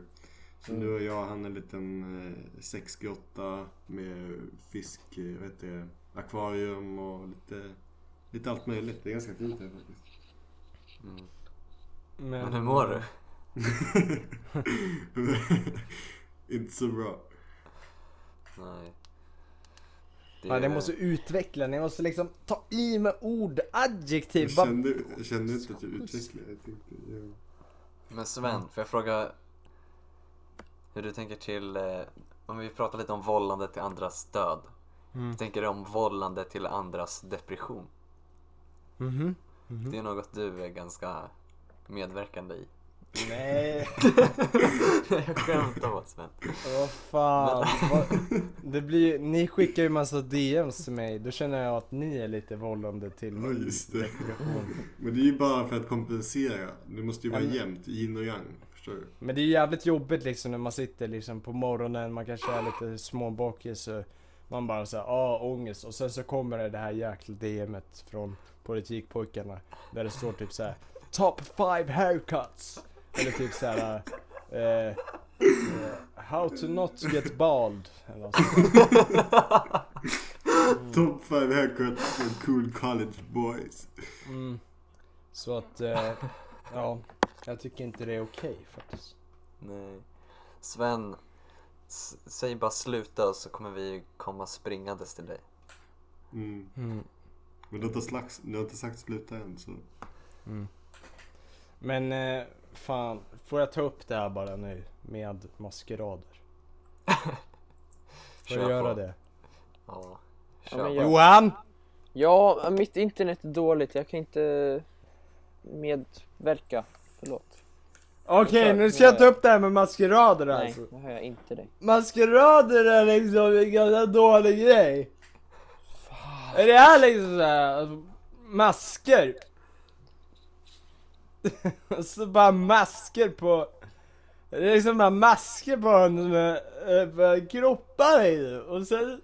Speaker 4: Så nu har jag och han en liten eh, 6-8 med fisk, eh, vad heter det, akvarium och lite, lite allt möjligt. Det är ganska fint här faktiskt.
Speaker 3: Mm. Men hur mår du?
Speaker 4: <laughs> Inte så bra.
Speaker 3: Nej. Det
Speaker 1: Ja,
Speaker 3: är-
Speaker 1: ni måste utveckla, ni måste liksom ta i med ord, adjektiv.
Speaker 4: Jag
Speaker 1: Bara...
Speaker 4: kände, jag kände inte att du utvecklade. Jag tänkte, ja.
Speaker 3: Men Sven, får jag fråga hur du tänker till, eh, om vi pratar lite om vållande till andras död. Hur tänker du om vållande till andras depression?
Speaker 1: Mhm.
Speaker 3: Det är något du är ganska medverkande i. <laughs>
Speaker 1: Nej,
Speaker 3: jag skämtar bara Sven.
Speaker 4: <laughs>
Speaker 1: vad fan. Vad- Det blir, ju- ni skickar ju massa DMs till mig, då känner jag att ni är lite vållande till
Speaker 4: ja,
Speaker 1: mig.
Speaker 4: just det. Men det är ju bara för att kompensera. Det måste ju vara
Speaker 1: Ja, men-
Speaker 4: jämnt, yin och yang. Förstår du?
Speaker 1: Men det är ju jävligt jobbigt liksom när man sitter liksom på morgonen, man kanske är lite småbakis och man bara såhär, ah ångest. Och sen så kommer det, det här jäkla DMet från politikpojkarna där det står typ såhär Top 5 haircuts! Eller typ såhär eh, eh, How to not get bald. Eller något sånt. Mm.
Speaker 4: Top 5 haircut for cool college boys.
Speaker 1: mm. Så att, eh, ja, jag tycker inte det är okej faktiskt.
Speaker 3: Nej. Sven, s- säg bara sluta och så kommer vi komma springandes till dig.
Speaker 4: Mm. Men du har, inte slags, du har inte sagt sluta än så.
Speaker 1: Men eh, fan, får jag ta upp det här bara nu med
Speaker 3: <laughs>
Speaker 1: maskerader? Får jag
Speaker 3: Kör
Speaker 1: göra
Speaker 3: på.
Speaker 1: det?
Speaker 3: Ja,
Speaker 2: Ja,
Speaker 3: kör
Speaker 2: men
Speaker 3: på.
Speaker 2: jag-
Speaker 1: Johan!
Speaker 2: Ja, mitt internet är dåligt. Jag kan inte medverka. Förlåt.
Speaker 1: Okej, nu ska jag ta upp det här med maskerader
Speaker 2: Nej,
Speaker 1: alltså.
Speaker 2: nu hör jag inte dig.
Speaker 1: Maskerader är liksom en ganska dålig grej. Är det här liksom såhär, alltså, masker? <laughs> Och så bara masker på... Det är liksom bara masker på en med, eh, med kroppar i och sen...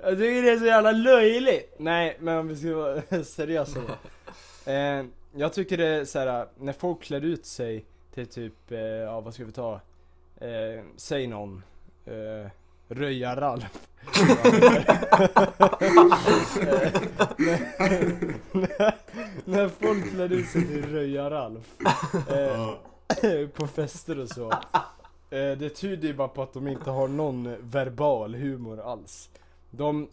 Speaker 1: Jag tycker det är så jävla löjligt. Nej, men om vi ska vara <laughs> seriösa då. Eh, jag tycker det är såhär, när folk klär ut sig till typ, eh, ja vad ska vi ta? Eh, säg någon. Eh, Röja-Ralf. när, <laughs> när folk klär ut sig till Röja-Ralf. Eh,
Speaker 4: Ja.
Speaker 1: på fester och så. Eh, Det tyder ju bara på att de inte har någon verbal humor alls. De,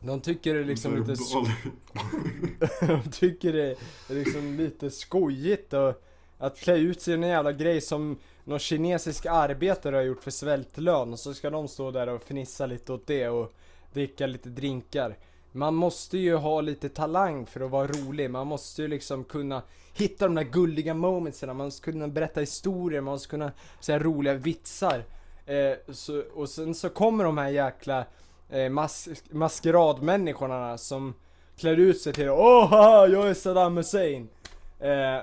Speaker 1: de tycker det är liksom lite, sk- <laughs>
Speaker 4: Verbal-
Speaker 1: de tycker det är liksom lite skojigt och att klä ut sig i en jävla grej som någon kinesisk arbetare har gjort för svältlön och så ska de stå där och fnissa lite åt det och dricka lite drinkar. Man måste ju ha lite talang för att vara rolig, man måste ju liksom kunna hitta de där gulliga momentsen, man måste kunna berätta historier, man måste kunna säga roliga vitsar. Eh, så, och sen så kommer de här jäkla eh, mas maskeradmänniskorna som klär ut sig till Åh, haha, jag är Saddam Hussein! Eh,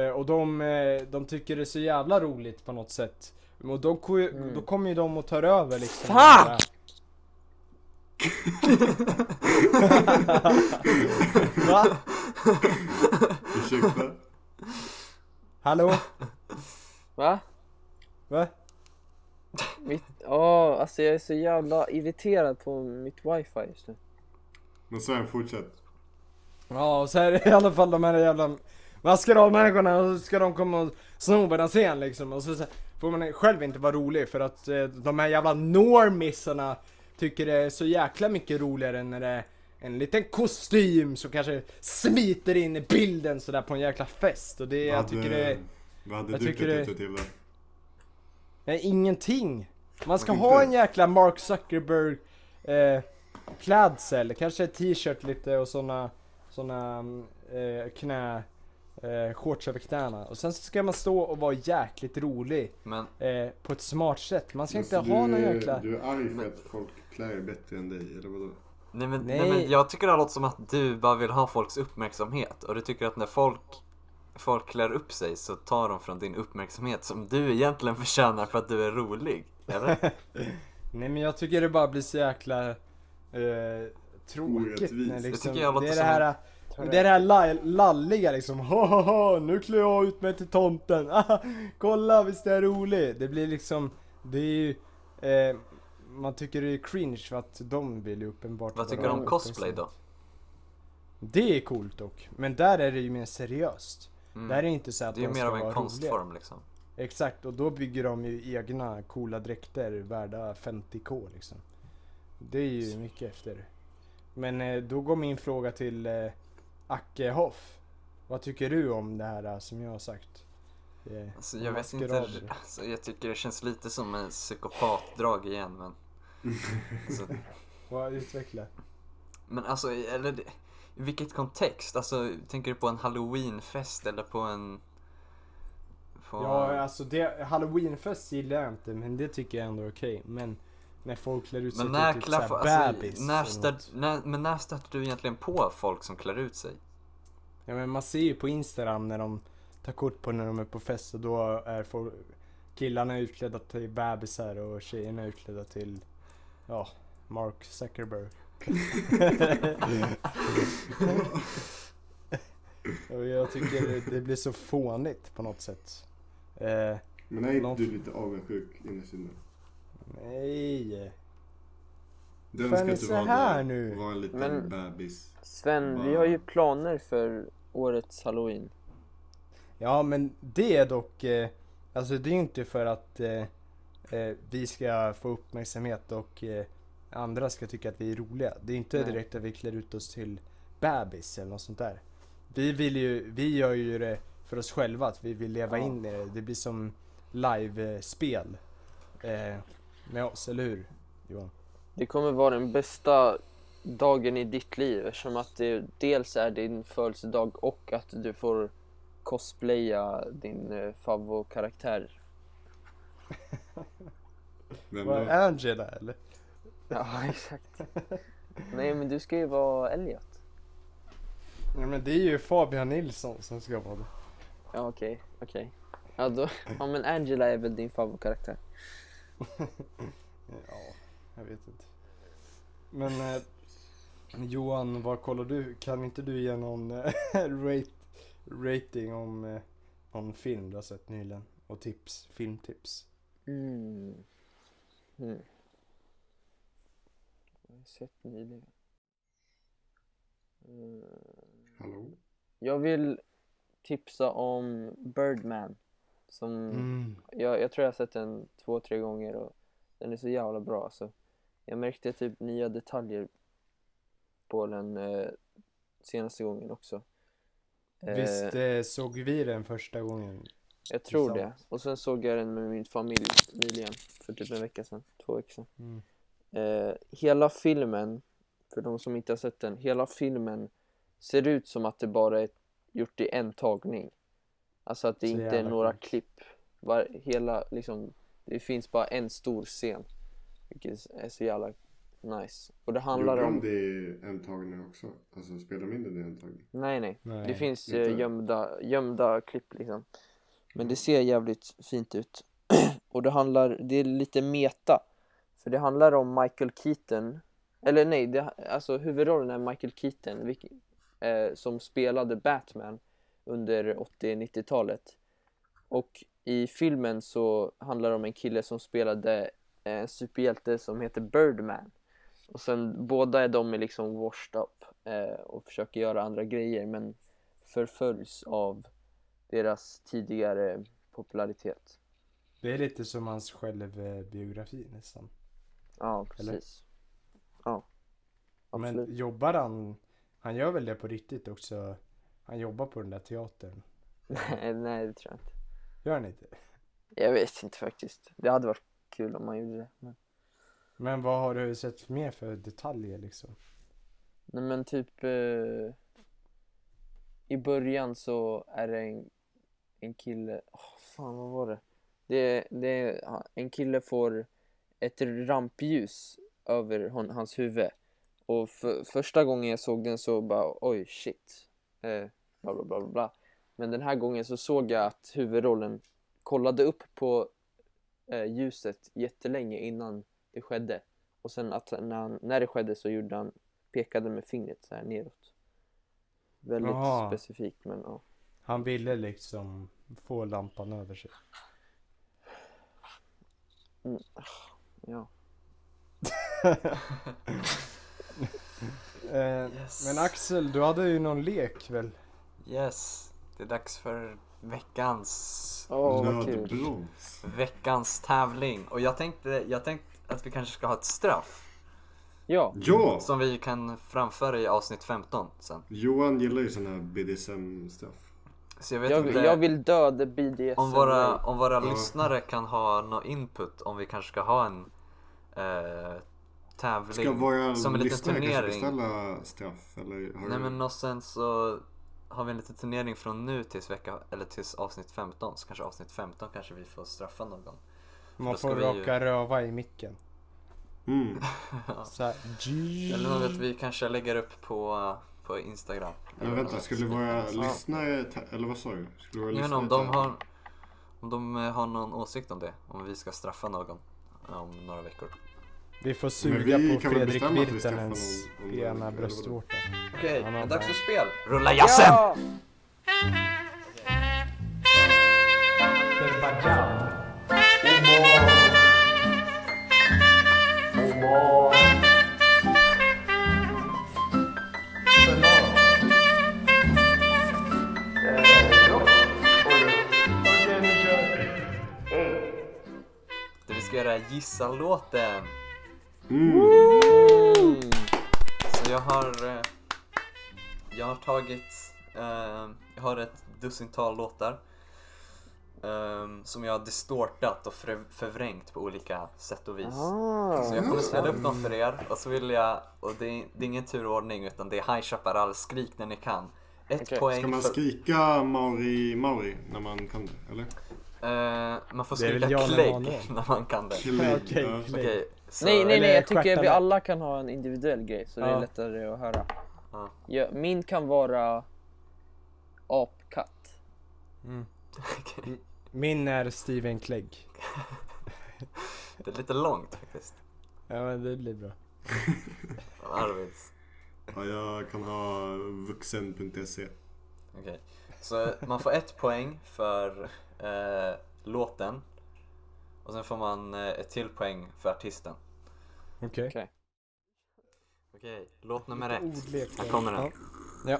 Speaker 1: eh, och de, eh, de tycker det är så jävla roligt på något sätt. Och då, ko- då kommer ju de och tar över liksom. den här- <laughs> Va?
Speaker 4: Ursäkta?
Speaker 1: Hallå?
Speaker 2: Va?
Speaker 1: Va?
Speaker 2: Mitt... Ja, alltså jag är så jävla irriterad på mitt wifi just nu.
Speaker 4: Men Sven, fortsätt.
Speaker 1: Ja, och så är det i alla fall de här <laughs> jävla maskeradmänniskorna och så ska de komma och sno en scen liksom och så, så får man själv inte vara rolig för att eh, de här jävla normissarna tycker det är så jäkla mycket roligare när det är en liten kostym som kanske smiter in i bilden sådär på en jäkla fest och det jag
Speaker 4: Vad
Speaker 1: tycker
Speaker 4: hade-
Speaker 1: det är
Speaker 4: Vad hade
Speaker 1: jag
Speaker 4: du
Speaker 1: tycker
Speaker 4: klätt
Speaker 1: det-
Speaker 4: ut dig till då?
Speaker 1: Nej, ingenting. Man ska
Speaker 4: Men
Speaker 1: ha
Speaker 4: inte-
Speaker 1: en jäkla Mark Zuckerberg eh, klädsel, kanske ett t-shirt lite och såna, såna mm, eh, knä, eh, shorts över knäna. Och sen så ska man stå och vara jäkligt rolig
Speaker 3: Men
Speaker 1: eh, på ett smart sätt. Man ska
Speaker 4: Men så
Speaker 1: inte ha
Speaker 4: Alltså, du,
Speaker 1: någon jäkla...
Speaker 4: Du är arg för att folk klär er bättre än dig, eller vadå?
Speaker 3: Nej men, nej.
Speaker 1: Nej.
Speaker 3: men jag tycker det låter som att du bara vill ha folks uppmärksamhet och du tycker att när folk, folk klär upp sig så tar de från din uppmärksamhet som du egentligen förtjänar för att du är rolig.
Speaker 1: <laughs>
Speaker 3: Eller?
Speaker 1: Nej men jag tycker det bara blir så jäkla eh, tråkigt.
Speaker 4: Orättvist.
Speaker 1: När,
Speaker 4: Det
Speaker 1: liksom,
Speaker 3: tycker jag låter
Speaker 1: det är det
Speaker 3: som
Speaker 1: här, eh, det är det här la- lalliga liksom. <laughs> Ha, ha, ha, nu klär jag ut mig till tomten. <laughs> Ah, kolla visst är jag rolig. Det blir liksom, det är ju, eh, man tycker det är cringe för att de vill ju uppenbart
Speaker 3: Vad tycker du
Speaker 1: vara
Speaker 3: om cosplay då?
Speaker 1: Det är coolt dock, men där är det ju mer seriöst.
Speaker 3: Mm.
Speaker 1: Där är det inte så att
Speaker 3: Det är ju
Speaker 1: de
Speaker 3: mer
Speaker 1: ska
Speaker 3: av
Speaker 1: vara
Speaker 3: en
Speaker 1: roliga.
Speaker 3: konstform liksom.
Speaker 1: Exakt, och då bygger de ju egna coola dräkter värda 50k liksom. Det är ju mycket efter. Men eh, då går min fråga till eh, Acke Hoff. Vad tycker du om det här eh, som jag har sagt? Eh,
Speaker 3: Alltså, jag vet inte,
Speaker 1: Maskerad.
Speaker 3: alltså, jag tycker det känns lite som en psykopatdrag igen
Speaker 1: <laughs>
Speaker 3: men... Alltså,
Speaker 1: vad utveckla?
Speaker 3: men alltså, eller det- i vilket kontext? Alltså, tänker du på en halloweenfest eller på en... På...
Speaker 1: Ja, alltså det, halloweenfest gillar jag inte men det tycker jag ändå är okej. Men när folk klär ut sig
Speaker 3: men när
Speaker 1: till typ
Speaker 3: klaffar,
Speaker 1: såhär
Speaker 3: alltså,
Speaker 1: bebis
Speaker 3: när
Speaker 1: eller
Speaker 3: stör,
Speaker 1: något.
Speaker 3: när, men när stöter du egentligen på folk som klär ut sig?
Speaker 1: Ja men man ser ju på Instagram när de tar kort på när de är på fest och då är folk, killarna utklädda till bebisar och tjejerna utklädda till, ja, Mark Zuckerberg. och jag tycker det, det blir så fånigt på något sätt. Eh,
Speaker 4: Men är inte
Speaker 1: Någon-
Speaker 4: du lite avundsjuk innerst inne?
Speaker 1: nej.
Speaker 4: Du
Speaker 1: Fan,
Speaker 4: önskar
Speaker 1: är
Speaker 4: att du
Speaker 1: så
Speaker 4: var
Speaker 1: här
Speaker 4: där
Speaker 1: nu?
Speaker 4: och var en liten
Speaker 2: Men-
Speaker 4: bebis.
Speaker 2: Sven, vi har ju planer för årets halloween.
Speaker 1: Ja men det är dock, eh, alltså det är ju inte för att eh, eh, vi ska få uppmärksamhet och eh, andra ska tycka att vi är roliga. Det är ju inte
Speaker 2: Nej.
Speaker 1: direkt att vi klär ut oss till bebis eller något sånt där. Vi vill ju, vi gör ju det för oss själva, att vi vill leva
Speaker 2: Ja.
Speaker 1: in i det. Det blir som live-spel eh, med oss, eller hur Johan?
Speaker 2: Det kommer vara den bästa dagen i ditt liv eftersom att det dels är din födelsedag och att du får cosplaya din eh, favvokaraktär.
Speaker 4: Vem
Speaker 1: Var
Speaker 4: då?
Speaker 1: Angela eller?
Speaker 2: <laughs> Ja, exakt. Nej, men du ska ju vara Elliot.
Speaker 1: Ja, men det är ju Fabian Nilsson som ska vara det.
Speaker 2: Ja, okej, okej. Ja, då, ja, men Angela är väl din favvokaraktär.
Speaker 1: Ja, jag vet inte. Men eh, Johan, vad kollar du? Kan inte du ge någon eh, <laughs> rate, rating om eh, någon film du har sett nyligen? Och tips, filmtips.
Speaker 2: Mm. Mm. Jag har sett nyligen. Mm.
Speaker 4: Hallå?
Speaker 2: Jag vill tipsa om Birdman. Som
Speaker 1: Mm.
Speaker 2: jag, jag tror jag har sett den två, tre gånger och den är så jävla bra alltså. Jag märkte typ nya detaljer på den eh, senaste gången också. Eh,
Speaker 1: Visst eh, såg vi den första gången?
Speaker 2: jag tror det.
Speaker 1: tillsammans.
Speaker 2: Och sen såg jag den med min familj nyligen, för typ en vecka sedan, två veckor sedan.
Speaker 1: Mm.
Speaker 2: Eh, hela filmen, för de som inte har sett den, hela filmen ser ut som att det bara är gjort i en tagning. Alltså att det
Speaker 1: Så
Speaker 2: inte är
Speaker 1: jävla
Speaker 2: några
Speaker 1: sjukt.
Speaker 2: klipp. Var, hela, liksom, det finns bara en stor scen. Vilket är så jävla nice. Och det handlar
Speaker 4: Gjorde de
Speaker 2: om...
Speaker 4: det i en tagning också? Alltså spelar de in den i en tagning?
Speaker 2: Nej, nej.
Speaker 1: Nej.
Speaker 2: Det finns
Speaker 4: inte.
Speaker 2: eh, gömda, gömda klipp liksom. Men det ser jävligt fint ut. <clears throat> Och det handlar, det är lite meta. För det handlar om Michael Keaton. Eller nej, det, alltså huvudrollen är Michael Keaton. vilk- eh, som spelade Batman under 80-90-talet. Och i filmen så handlar det om en kille som spelade eh, en superhjälte som heter Birdman. Och sen båda är de är liksom washed up eh, och försöker göra andra grejer men förföljs av deras tidigare popularitet.
Speaker 1: Det är lite som hans självbiografi nästan.
Speaker 2: Ja, precis. Ja, absolut. <laughs>
Speaker 1: Men jobbar han, han gör väl det på riktigt också? Han jobbar på den där teatern.
Speaker 2: Nej, nej, det tror jag inte.
Speaker 1: Gör han inte?
Speaker 2: Jag vet inte faktiskt. Det hade varit kul om man gjorde det. Men...
Speaker 1: Men vad har du sett mer för detaljer liksom?
Speaker 2: Nej men typ eh, i början så är det en, en kille, åh fan vad var det? Det, det han- en kille får ett rampljus över hon, hans huvud och för, första gången jag såg den så bara oj shit, eh, bla bla bla bla, bla. Men den här gången så såg jag att huvudrollen kollade upp på eh, ljuset jättelänge innan det skedde och sen att när, han, när det skedde så gjorde han pekade med fingret så här neråt. Väldigt
Speaker 1: Jaha.
Speaker 2: specifikt men ja.
Speaker 1: Han ville liksom få lampan över sig.
Speaker 2: ja.
Speaker 1: Eh,
Speaker 3: Yes.
Speaker 1: Men Axel, du hade ju någon lek väl?
Speaker 3: Yes, det är dags för veckans,
Speaker 2: Åh vad kul.
Speaker 4: Nödbroms.
Speaker 3: veckans tävling. Och jag tänkte, jag tänkte att vi kanske ska ha ett straff.
Speaker 2: Ja,
Speaker 4: Ja!
Speaker 3: Som vi kan framföra i avsnitt 15 sen.
Speaker 4: Johan gillar ju sådana här BDSM-straff.
Speaker 3: Så jag vet
Speaker 2: jag,
Speaker 3: inte
Speaker 2: jag vill döda BDSM.
Speaker 3: om våra, om våra lyssnare kan ha någon input om vi kanske ska ha en eh, tävling
Speaker 4: Ska våra
Speaker 3: som en liten
Speaker 4: lyssnare kanske
Speaker 3: turnering.
Speaker 4: beställa straff? Eller har du-
Speaker 3: Nej men och sen så har vi en liten turnering från nu tills vecka, eller tills avsnitt 15. Så kanske avsnitt 15 kanske vi får straffa någon.
Speaker 1: Man
Speaker 3: ska
Speaker 1: får
Speaker 3: vi ju-
Speaker 1: raka röva i micken. <laughs>
Speaker 4: Mm.
Speaker 1: Så här,
Speaker 3: Eller något vi kanske lägger upp på, på Instagram.
Speaker 4: Men vänta, skulle våra lyssnare... ta- Eller vad sa du? Skulle våra
Speaker 3: Jag menar
Speaker 4: lyssnare
Speaker 3: om de
Speaker 4: ta-
Speaker 3: har, om de eh, har någon åsikt om det. Om vi ska straffa någon om några veckor.
Speaker 1: vi får
Speaker 4: Men
Speaker 1: suga
Speaker 4: vi
Speaker 1: på
Speaker 4: kan väl
Speaker 1: Fredrik
Speaker 4: bestämma att vi skaffar
Speaker 1: Virtanens
Speaker 4: någon- någon-
Speaker 1: ena
Speaker 4: eller vadå?
Speaker 1: bröstvårta.
Speaker 3: Okej,
Speaker 1: men
Speaker 3: det är
Speaker 1: dags
Speaker 3: dags
Speaker 1: för
Speaker 3: för spel! Rulla jassen!
Speaker 2: Ja!
Speaker 3: Det vi ska göra är gissa-låten.
Speaker 4: Mm.
Speaker 3: Så jag har... eh, Jag har tagit... eh, Jag har ett dussintal låtar. eh, Som jag har distortat och förv- förvrängt på olika sätt och vis.
Speaker 4: Ah.
Speaker 3: Så jag kommer spela upp dem för er och så vill jag, och det är, det är ingen turordning utan det är High Chaparral, skrik när ni kan. Ett
Speaker 2: Okej.
Speaker 3: poäng
Speaker 4: Ska man
Speaker 3: för...
Speaker 4: skrika Mauri Mauri när man kan det?
Speaker 1: <laughs>
Speaker 4: Eller?
Speaker 3: Eh, man får
Speaker 1: Det är väl
Speaker 3: skrika
Speaker 1: Jan
Speaker 3: klägg
Speaker 1: Emanuel.
Speaker 3: när man kan det.
Speaker 4: Kling,
Speaker 1: Okej,
Speaker 4: ja.
Speaker 1: kling.
Speaker 3: Okej, så...
Speaker 2: Nej,
Speaker 3: <laughs>
Speaker 2: nej,
Speaker 1: Eller
Speaker 2: nej, jag tycker
Speaker 1: stjärtarna.
Speaker 2: vi alla kan ha en individuell grej så det
Speaker 1: Ja.
Speaker 2: är lättare att höra.
Speaker 3: Ja.
Speaker 2: Ja, min kan vara apkatt.
Speaker 4: Mm.
Speaker 3: Okej.
Speaker 1: Min är Steven Clegg.
Speaker 3: Det är lite långt faktiskt.
Speaker 1: Ja men det blir bra.
Speaker 3: Arvids.
Speaker 4: Ja, jag kan ha vuxen.se.
Speaker 3: Okej. Så man får ett poäng för eh, låten. Och sen får man eh, ett till poäng för artisten.
Speaker 1: Okej.
Speaker 2: Okej.
Speaker 3: Okej, låt nummer ett.
Speaker 1: Ordlek
Speaker 3: Här
Speaker 1: där.
Speaker 3: kommer den.
Speaker 1: Ja. Ja.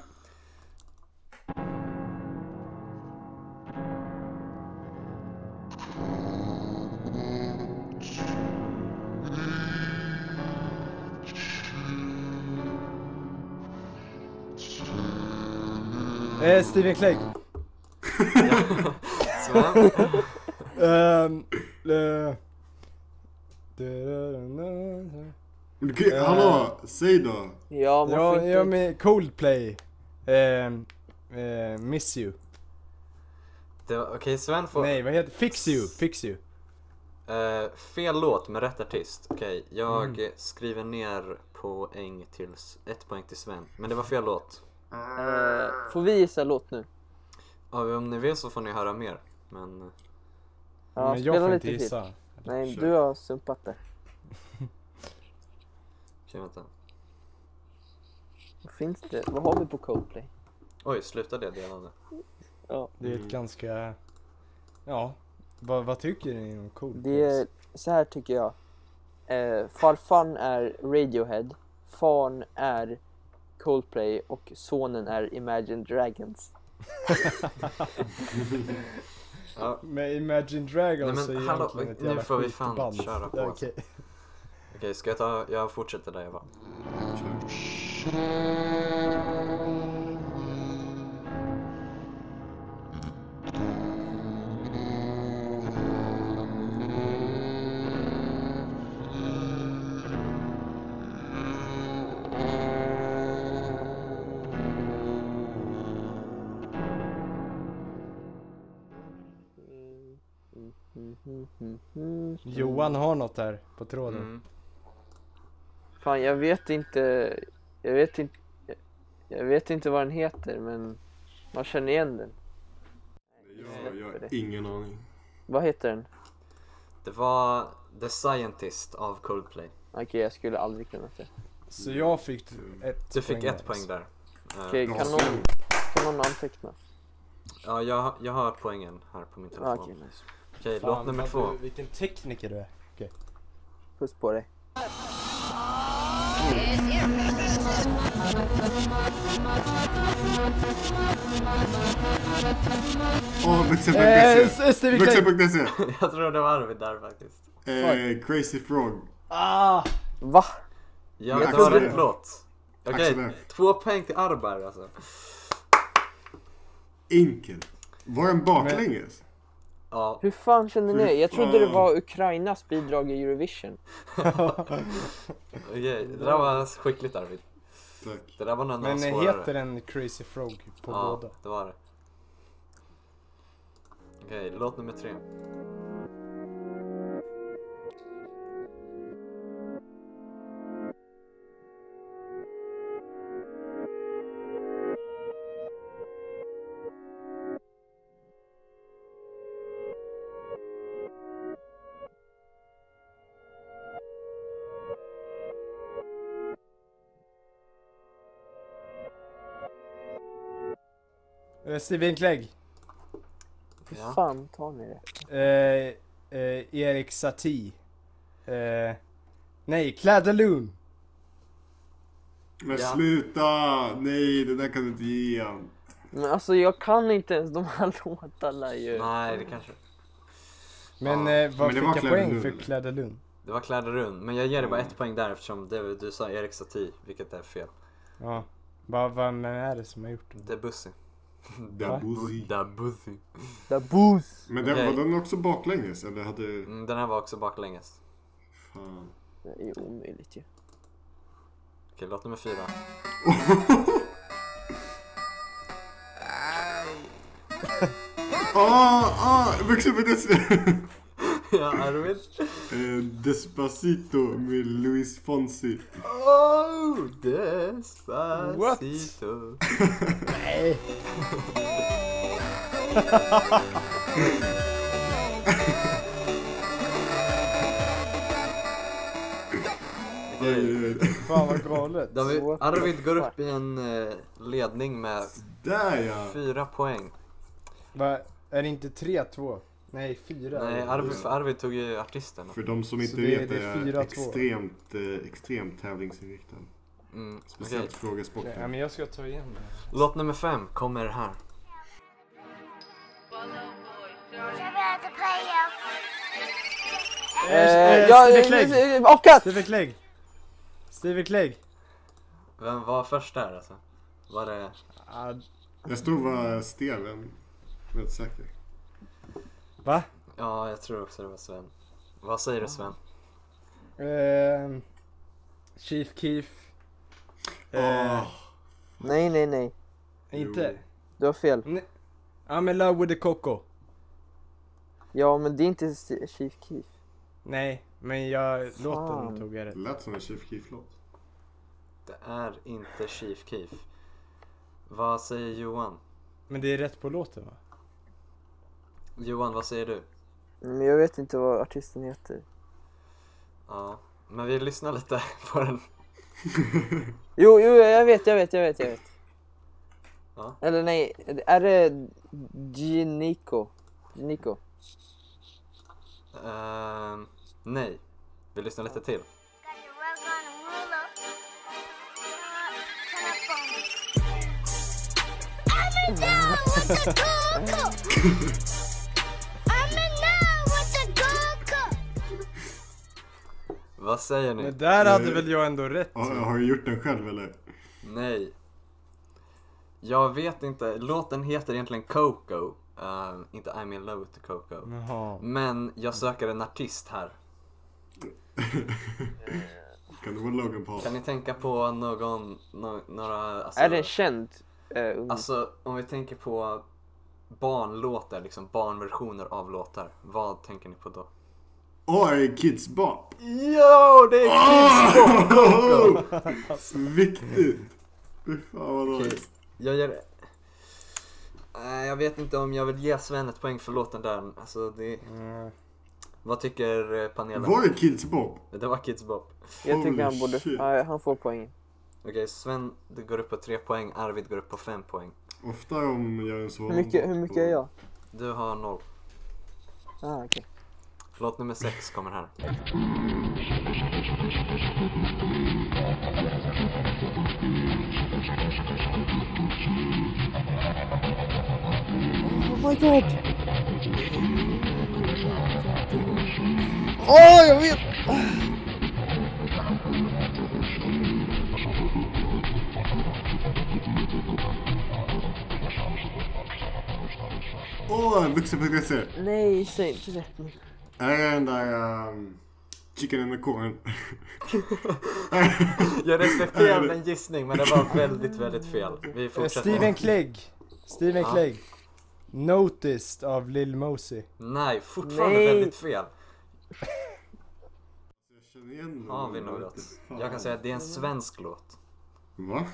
Speaker 1: Eh, Steven Clegg.
Speaker 3: Sven?
Speaker 1: Ehm, eh, du-du-du-du.
Speaker 4: Men gud,
Speaker 1: Eh.
Speaker 4: Hallå, säg då!
Speaker 2: Ja, man får
Speaker 1: Ja,
Speaker 2: inte...
Speaker 1: ja men Coldplay. Ehm, eh, miss you.
Speaker 3: <laughs> Det var- Okej, Sven får...
Speaker 1: Nej, vad heter Fix you, fix you.
Speaker 3: Eh, fel låt med rätt artist. Okej, jag
Speaker 1: Mm.
Speaker 3: eh, skriver ner poäng till, s- ett poäng till Sven. Men det var fel låt.
Speaker 2: eh, får vi gissa låt nu?
Speaker 3: Ja, om ni vill så får ni höra mer. Men eh,
Speaker 2: Ja,
Speaker 1: men jag
Speaker 2: spela lite
Speaker 1: får inte
Speaker 2: till.
Speaker 1: gissa.
Speaker 2: Nej,
Speaker 4: Kör.
Speaker 2: du har sumpat det.
Speaker 3: okej, vänta.
Speaker 2: Vad finns det? Vad har vi på Coldplay?
Speaker 3: Oj, sluta det delande.
Speaker 2: Ja,
Speaker 1: Det är
Speaker 3: Mm.
Speaker 1: ett ganska... Ja, vad, vad tycker ni om Coldplay?
Speaker 2: det är... Så här tycker jag. Eh, farfan är Radiohead, fan är Coldplay och sonen är Imagine Dragons.
Speaker 3: Ja,
Speaker 1: Med Imagine Dragons
Speaker 3: Nej, men
Speaker 1: är
Speaker 3: hallå,
Speaker 1: egentligen ett
Speaker 3: nu
Speaker 1: jävla
Speaker 3: får vi fan
Speaker 1: skitband.
Speaker 3: köra
Speaker 1: <laughs>
Speaker 3: på. alltså.
Speaker 1: Okej.
Speaker 3: Okej, ska jag ta... Jag fortsätter där jag var.
Speaker 4: Kör.
Speaker 1: Johan har något där på tråden.
Speaker 3: Mm.
Speaker 2: Fan, jag vet inte... Jag vet inte... Jag vet inte vad den heter, men man känner igen den.
Speaker 4: Ja, jag har ingen aning.
Speaker 2: Vad heter den?
Speaker 3: Det var The Scientist av Coldplay.
Speaker 2: Okej, jag skulle aldrig kunna säga.
Speaker 1: Så jag fick ett
Speaker 3: Du fick
Speaker 1: poäng
Speaker 3: ett poäng där. Eh,
Speaker 2: Okej, kan, någon, kan någon anteckna?
Speaker 3: Ja, jag, jag har poängen här på min
Speaker 2: Ah,
Speaker 3: telefon.
Speaker 2: Okej,
Speaker 3: Okej,
Speaker 2: nice.
Speaker 1: Fan,
Speaker 3: låt nummer
Speaker 1: vad
Speaker 3: två.
Speaker 1: Du, vilken tekniker du är. Okej.
Speaker 2: Puss på dig.
Speaker 4: Åh,
Speaker 1: Eh,
Speaker 4: vuxen.se!
Speaker 1: s- Stevie Clay.
Speaker 4: Vuxen.se!
Speaker 3: Jag tror det var Arvid där faktiskt.
Speaker 4: Eh, Crazy Frog.
Speaker 1: Ah!
Speaker 2: Va?
Speaker 3: Ja,
Speaker 4: Men
Speaker 3: det var
Speaker 4: Axberg.
Speaker 3: rätt låt. Okej,
Speaker 4: Axberg.
Speaker 3: två poäng till Arbar alltså.
Speaker 4: Enkelt. Var den baklänges?
Speaker 3: Ja,
Speaker 2: Hur fan känner
Speaker 4: Fy
Speaker 2: ni? Jag trodde det
Speaker 4: fan.
Speaker 2: var Ukrainas bidrag i Eurovision.
Speaker 3: okej. Det där var skickligt Arvid.
Speaker 4: Tack.
Speaker 3: Det där var nog en av
Speaker 1: Men
Speaker 3: de
Speaker 1: eh,
Speaker 3: svårare.
Speaker 1: heter den Crazy Frog på
Speaker 3: Ja,
Speaker 1: båda?
Speaker 3: det var det. Okej, låt nummer tre.
Speaker 1: Eh, Steven Clegg.
Speaker 2: Hur
Speaker 3: Ja.
Speaker 2: fan tar ni det?
Speaker 1: Eh, eh, Erik Satie. Eh, nej, Cladaloon.
Speaker 4: Men
Speaker 3: Ja.
Speaker 4: sluta! Nej, det där kan du inte ge han.
Speaker 2: Men alltså jag kan inte ens de här <laughs> låtarna ju.
Speaker 3: Nej, det kanske...
Speaker 1: Men
Speaker 3: Ja,
Speaker 1: eh, vad
Speaker 4: men det
Speaker 1: fick
Speaker 4: var
Speaker 1: jag
Speaker 4: Cladaloon,
Speaker 1: poäng för
Speaker 4: eller?
Speaker 1: Cladaloon?
Speaker 3: Det var Kläderun, men jag ger dig bara ett poäng där eftersom det, du sa Erik Satie, vilket är fel.
Speaker 1: Ja. Vad vad vem är det som har gjort det?
Speaker 3: Det är Bussi.
Speaker 1: Va?
Speaker 4: Dabuzi.
Speaker 3: Det är Bussi.
Speaker 2: Daboos!
Speaker 4: Men den,
Speaker 3: Okej.
Speaker 4: var den också baklänges? Eller hade...
Speaker 3: Mm, den här var också baklänges.
Speaker 4: Fan.
Speaker 2: Det är ju omöjligt ju.
Speaker 3: Okej, låt nummer fyra.
Speaker 4: Ah, ah! Väx upp i des-
Speaker 3: ja, Arvid.
Speaker 4: <laughs> Eh, Despacito med Luis Fonsi.
Speaker 3: Oh, Despacito. What?
Speaker 1: Nej.
Speaker 4: Oj, oj, oj.
Speaker 1: Fan vad galet.
Speaker 3: David,
Speaker 2: What the
Speaker 3: Arvid går
Speaker 2: fuck?
Speaker 3: upp i en eh, ledning med
Speaker 4: Där ja!
Speaker 3: fyra poäng.
Speaker 1: Va, är det inte 3-2? Nej, 4.
Speaker 3: Nej, Arvid, för Arvid tog ju artisten.
Speaker 4: För de som inte
Speaker 1: det-
Speaker 4: vet
Speaker 1: det är
Speaker 4: är jag
Speaker 1: 4-2.
Speaker 4: extremt, eh, extremt tävlingsinriktad.
Speaker 3: Mm,
Speaker 4: Speciellt
Speaker 3: okej.
Speaker 4: frågesporten.
Speaker 1: Ja, men jag ska ta igen det.
Speaker 3: Låt nummer fem kommer här.
Speaker 6: Try not to play
Speaker 2: Eh,
Speaker 6: you.
Speaker 1: eh,
Speaker 2: ja,
Speaker 1: Steven
Speaker 2: eh,
Speaker 1: Clegg.
Speaker 2: eh, Avkatt!
Speaker 1: Steven Clegg. Steven Clegg.
Speaker 3: Vem var först där alltså? Var det...
Speaker 1: Ah,
Speaker 4: Jag stod var Steven. Helt säker.
Speaker 1: va?
Speaker 3: Ja, jag tror också det var Sven. Vad säger du Sven?
Speaker 1: Ehm, Chief Keef. Eh,
Speaker 4: Ah,
Speaker 2: Nej, nej, nej.
Speaker 1: Inte?
Speaker 2: Du har fel.
Speaker 1: Ja, men Love with the Coco.
Speaker 2: Ja, men det är inte Sti- Chief Keef.
Speaker 1: Nej, men jag...
Speaker 2: Fan.
Speaker 1: Låten tog jag rätt.
Speaker 4: det lät som en Chief Keef-låt.
Speaker 3: Det är inte Chief Keef. Vad säger Johan?
Speaker 1: Men det är rätt på låten va?
Speaker 3: Johan, vad säger du?
Speaker 2: Men Mm, jag vet inte vad artisten heter.
Speaker 3: Ja, men vi lyssnar lite <laughs> på den.
Speaker 2: Jo, jo, jag vet, jag vet, jag vet, jag vet.
Speaker 3: Ja.
Speaker 2: Eller nej, är det Ginico? Ginico?
Speaker 3: Ehm, nej, vi lyssnar lite till.
Speaker 6: Got the rug on the ruler. Uh, Turn up on me. I'm in love with the coco. I'm in love with the coco.
Speaker 3: Vad säger ni?
Speaker 1: Men där hade väl jag ändå rätt?
Speaker 4: Ah,
Speaker 3: Mm.
Speaker 4: har du gjort den själv eller?
Speaker 3: Nej. Jag vet inte, låten heter egentligen Coco. Ehm, inte I'm in love with the Coco.
Speaker 1: Jaha.
Speaker 3: Men jag söker en artist här.
Speaker 4: Kan det vara Logan Paul?
Speaker 3: Kan ni tänka på någon, nå- några... Alltså,
Speaker 2: Är det en känd eh, ung?
Speaker 3: Alltså om vi tänker på barnlåtar, liksom barnversioner av låtar. Vad tänker ni på då?
Speaker 4: Åh, är det Kids Bop?
Speaker 3: Jo, det är
Speaker 4: Ah! Viktigt!
Speaker 3: Mm.
Speaker 4: Fy fan vad dåligt.
Speaker 3: Jag ger... Nej, jag vet inte om jag vill ge Sven ett poäng för låten där. Alltså, det...
Speaker 1: Mm.
Speaker 3: Vad tycker eh, panelen?
Speaker 4: Var det Kids Bop?
Speaker 3: <laughs> Det var Kids Bop.
Speaker 2: jag tycker han
Speaker 4: holy
Speaker 2: borde...
Speaker 4: shit.
Speaker 2: Nej, han får poäng.
Speaker 3: Okej, Sven du går upp på tre poäng, Arvid går upp på fem poäng.
Speaker 4: Ofta om jag är en sådan
Speaker 2: Hur mycket, hur mycket är jag?
Speaker 3: Du har noll.
Speaker 2: Ah, okej.
Speaker 3: Låt nummer sex kommer <laughs> här.
Speaker 2: Oh my god! Åh, jag vet!
Speaker 4: Åh, vuxen.se!
Speaker 2: Nej, säg inte det.
Speaker 4: Här är den där um, chicken and the corn.
Speaker 3: Jag respekterar din gissning men det var väldigt, väldigt fel. Vi
Speaker 1: Eh,
Speaker 3: fortsätter.
Speaker 1: Steven Clegg. Steven
Speaker 3: Ja.
Speaker 1: Clegg. Noticed av Lil Mosey.
Speaker 3: Nej, fortfarande
Speaker 2: Nej.
Speaker 3: väldigt fel.
Speaker 4: Jag känner igen den.
Speaker 3: Har
Speaker 4: <laughs>
Speaker 3: vi något? Jag kan säga att det är en svensk låt.
Speaker 4: Va?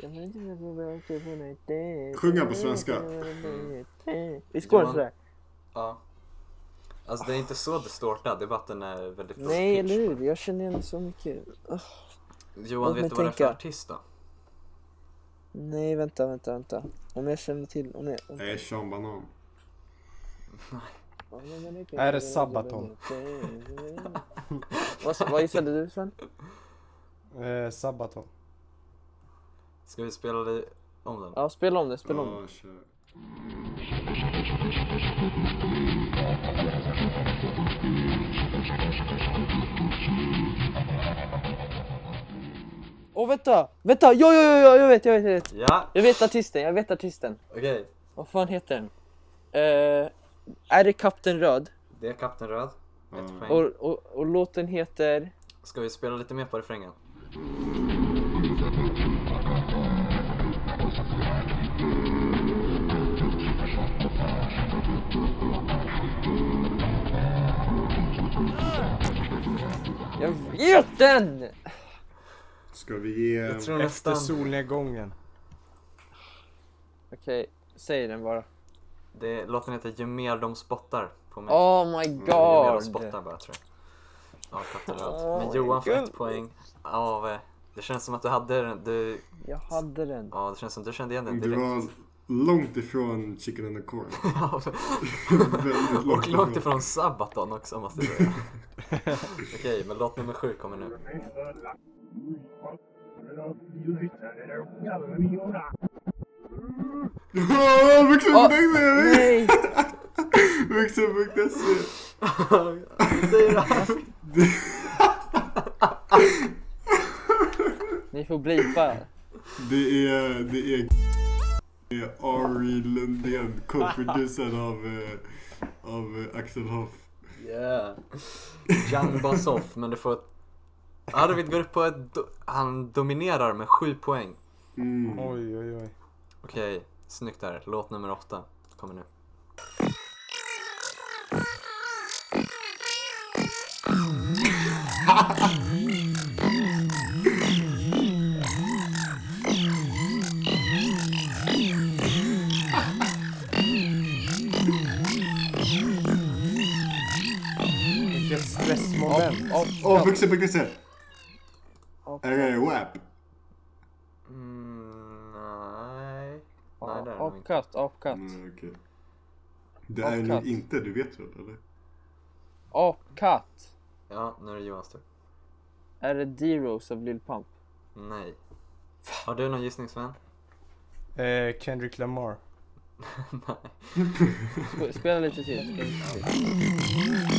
Speaker 2: Jag vet inte vad jag typ ska få mig till.
Speaker 4: Sjunga på svenska.
Speaker 2: Vi skålar sådär.
Speaker 3: Ja. Alltså det är inte så distortad, debatten är väldigt low
Speaker 2: Nej,
Speaker 3: pitch.
Speaker 2: eller hur? Jag känner igen så mycket. Ugh.
Speaker 3: Johan,
Speaker 2: Låt
Speaker 3: vet
Speaker 2: mig
Speaker 3: du vad det är för
Speaker 2: tänka.
Speaker 3: artist då?
Speaker 2: Nej, vänta, vänta, vänta. Om jag känner till... Om jag...
Speaker 4: Det är Sean Banan.
Speaker 1: Är det Sabaton?
Speaker 2: <laughs> vad, vad gissade du, Sven?
Speaker 1: Eh, Sabaton.
Speaker 3: Ska vi spela det om den?
Speaker 2: Ja, spela om det, spela om det.
Speaker 4: Ja, kör.
Speaker 2: Åh, vänta! Vänta! Ja, ja, ja, ja, jag vet, jag vet, jag vet.
Speaker 3: Ja,
Speaker 2: Jag vet artisten, jag vet artisten.
Speaker 3: okej.
Speaker 2: Vad fan heter den? Eh, är det Kapten Röd?
Speaker 3: Det är Kapten Röd. Ett
Speaker 4: Ja.
Speaker 3: poäng.
Speaker 2: Och, och, och låten heter...
Speaker 3: Ska vi spela lite mer på refrängen?
Speaker 2: Jag vet den!
Speaker 4: Ska vi ge...
Speaker 3: Jag tror
Speaker 1: Efter
Speaker 3: nästan...
Speaker 1: solnedgången.
Speaker 2: Okej, säg den bara.
Speaker 3: Det, låten heter Ju mer de spottar på mig.
Speaker 2: Oh my
Speaker 3: Ju mer de
Speaker 2: god!
Speaker 3: spottar bara tror jag. Ja, Kapten
Speaker 2: Åh,
Speaker 3: Röd. Men
Speaker 2: my
Speaker 3: Johan får ett
Speaker 2: goodness.
Speaker 3: poäng av... eh, Det känns som att du hade den, du...
Speaker 2: Jag hade den.
Speaker 3: Ja, det känns som du kände igen
Speaker 4: Du
Speaker 3: den direkt.
Speaker 4: var långt ifrån chicken and the corn.
Speaker 3: <laughs>
Speaker 4: Väldigt <laughs> långt
Speaker 3: Och långt ifrån Sabaton också måste jag säga. Okej, men låt nummer sju kommer nu. <laughs>
Speaker 4: <laughs> Åh,
Speaker 3: Ah.
Speaker 4: Vuxen.se!
Speaker 2: Nej!
Speaker 4: Vuxen.se!
Speaker 3: Säger det här.
Speaker 2: Ni får blipa.
Speaker 4: Det är... Det är... Det är Ari Lundén, co-producern av... eh, Av eh, Axel Hoff.
Speaker 3: Yeah. Jan Bassoff, men du får ett... Arvid går upp på ett... do- Han dominerar med sju poäng.
Speaker 4: Mm.
Speaker 1: Oj, oj, oj.
Speaker 3: Okej, snyggt där. Låt nummer åtta kommer nu.
Speaker 1: Vilket stressmoment.
Speaker 4: Åh, Vuxen.se!
Speaker 2: Hopp.
Speaker 4: Är det WAP?
Speaker 3: Mm, nej. Nej, det är det nog inte.
Speaker 2: Apkatt, apkatt.
Speaker 4: Nej, Mm, okej. Det är
Speaker 2: Avkatt.
Speaker 4: nog inte, du vet väl eller?
Speaker 2: Apkatt.
Speaker 3: Ja, nu är det Johans tur.
Speaker 2: Är det D-Rose av Lil Pump?
Speaker 3: Nej. Har du någon gissning Sven? <laughs>
Speaker 1: Eh, Kendrick Lamar.
Speaker 3: nej.
Speaker 2: Sp- Spela lite till. Spela lite till.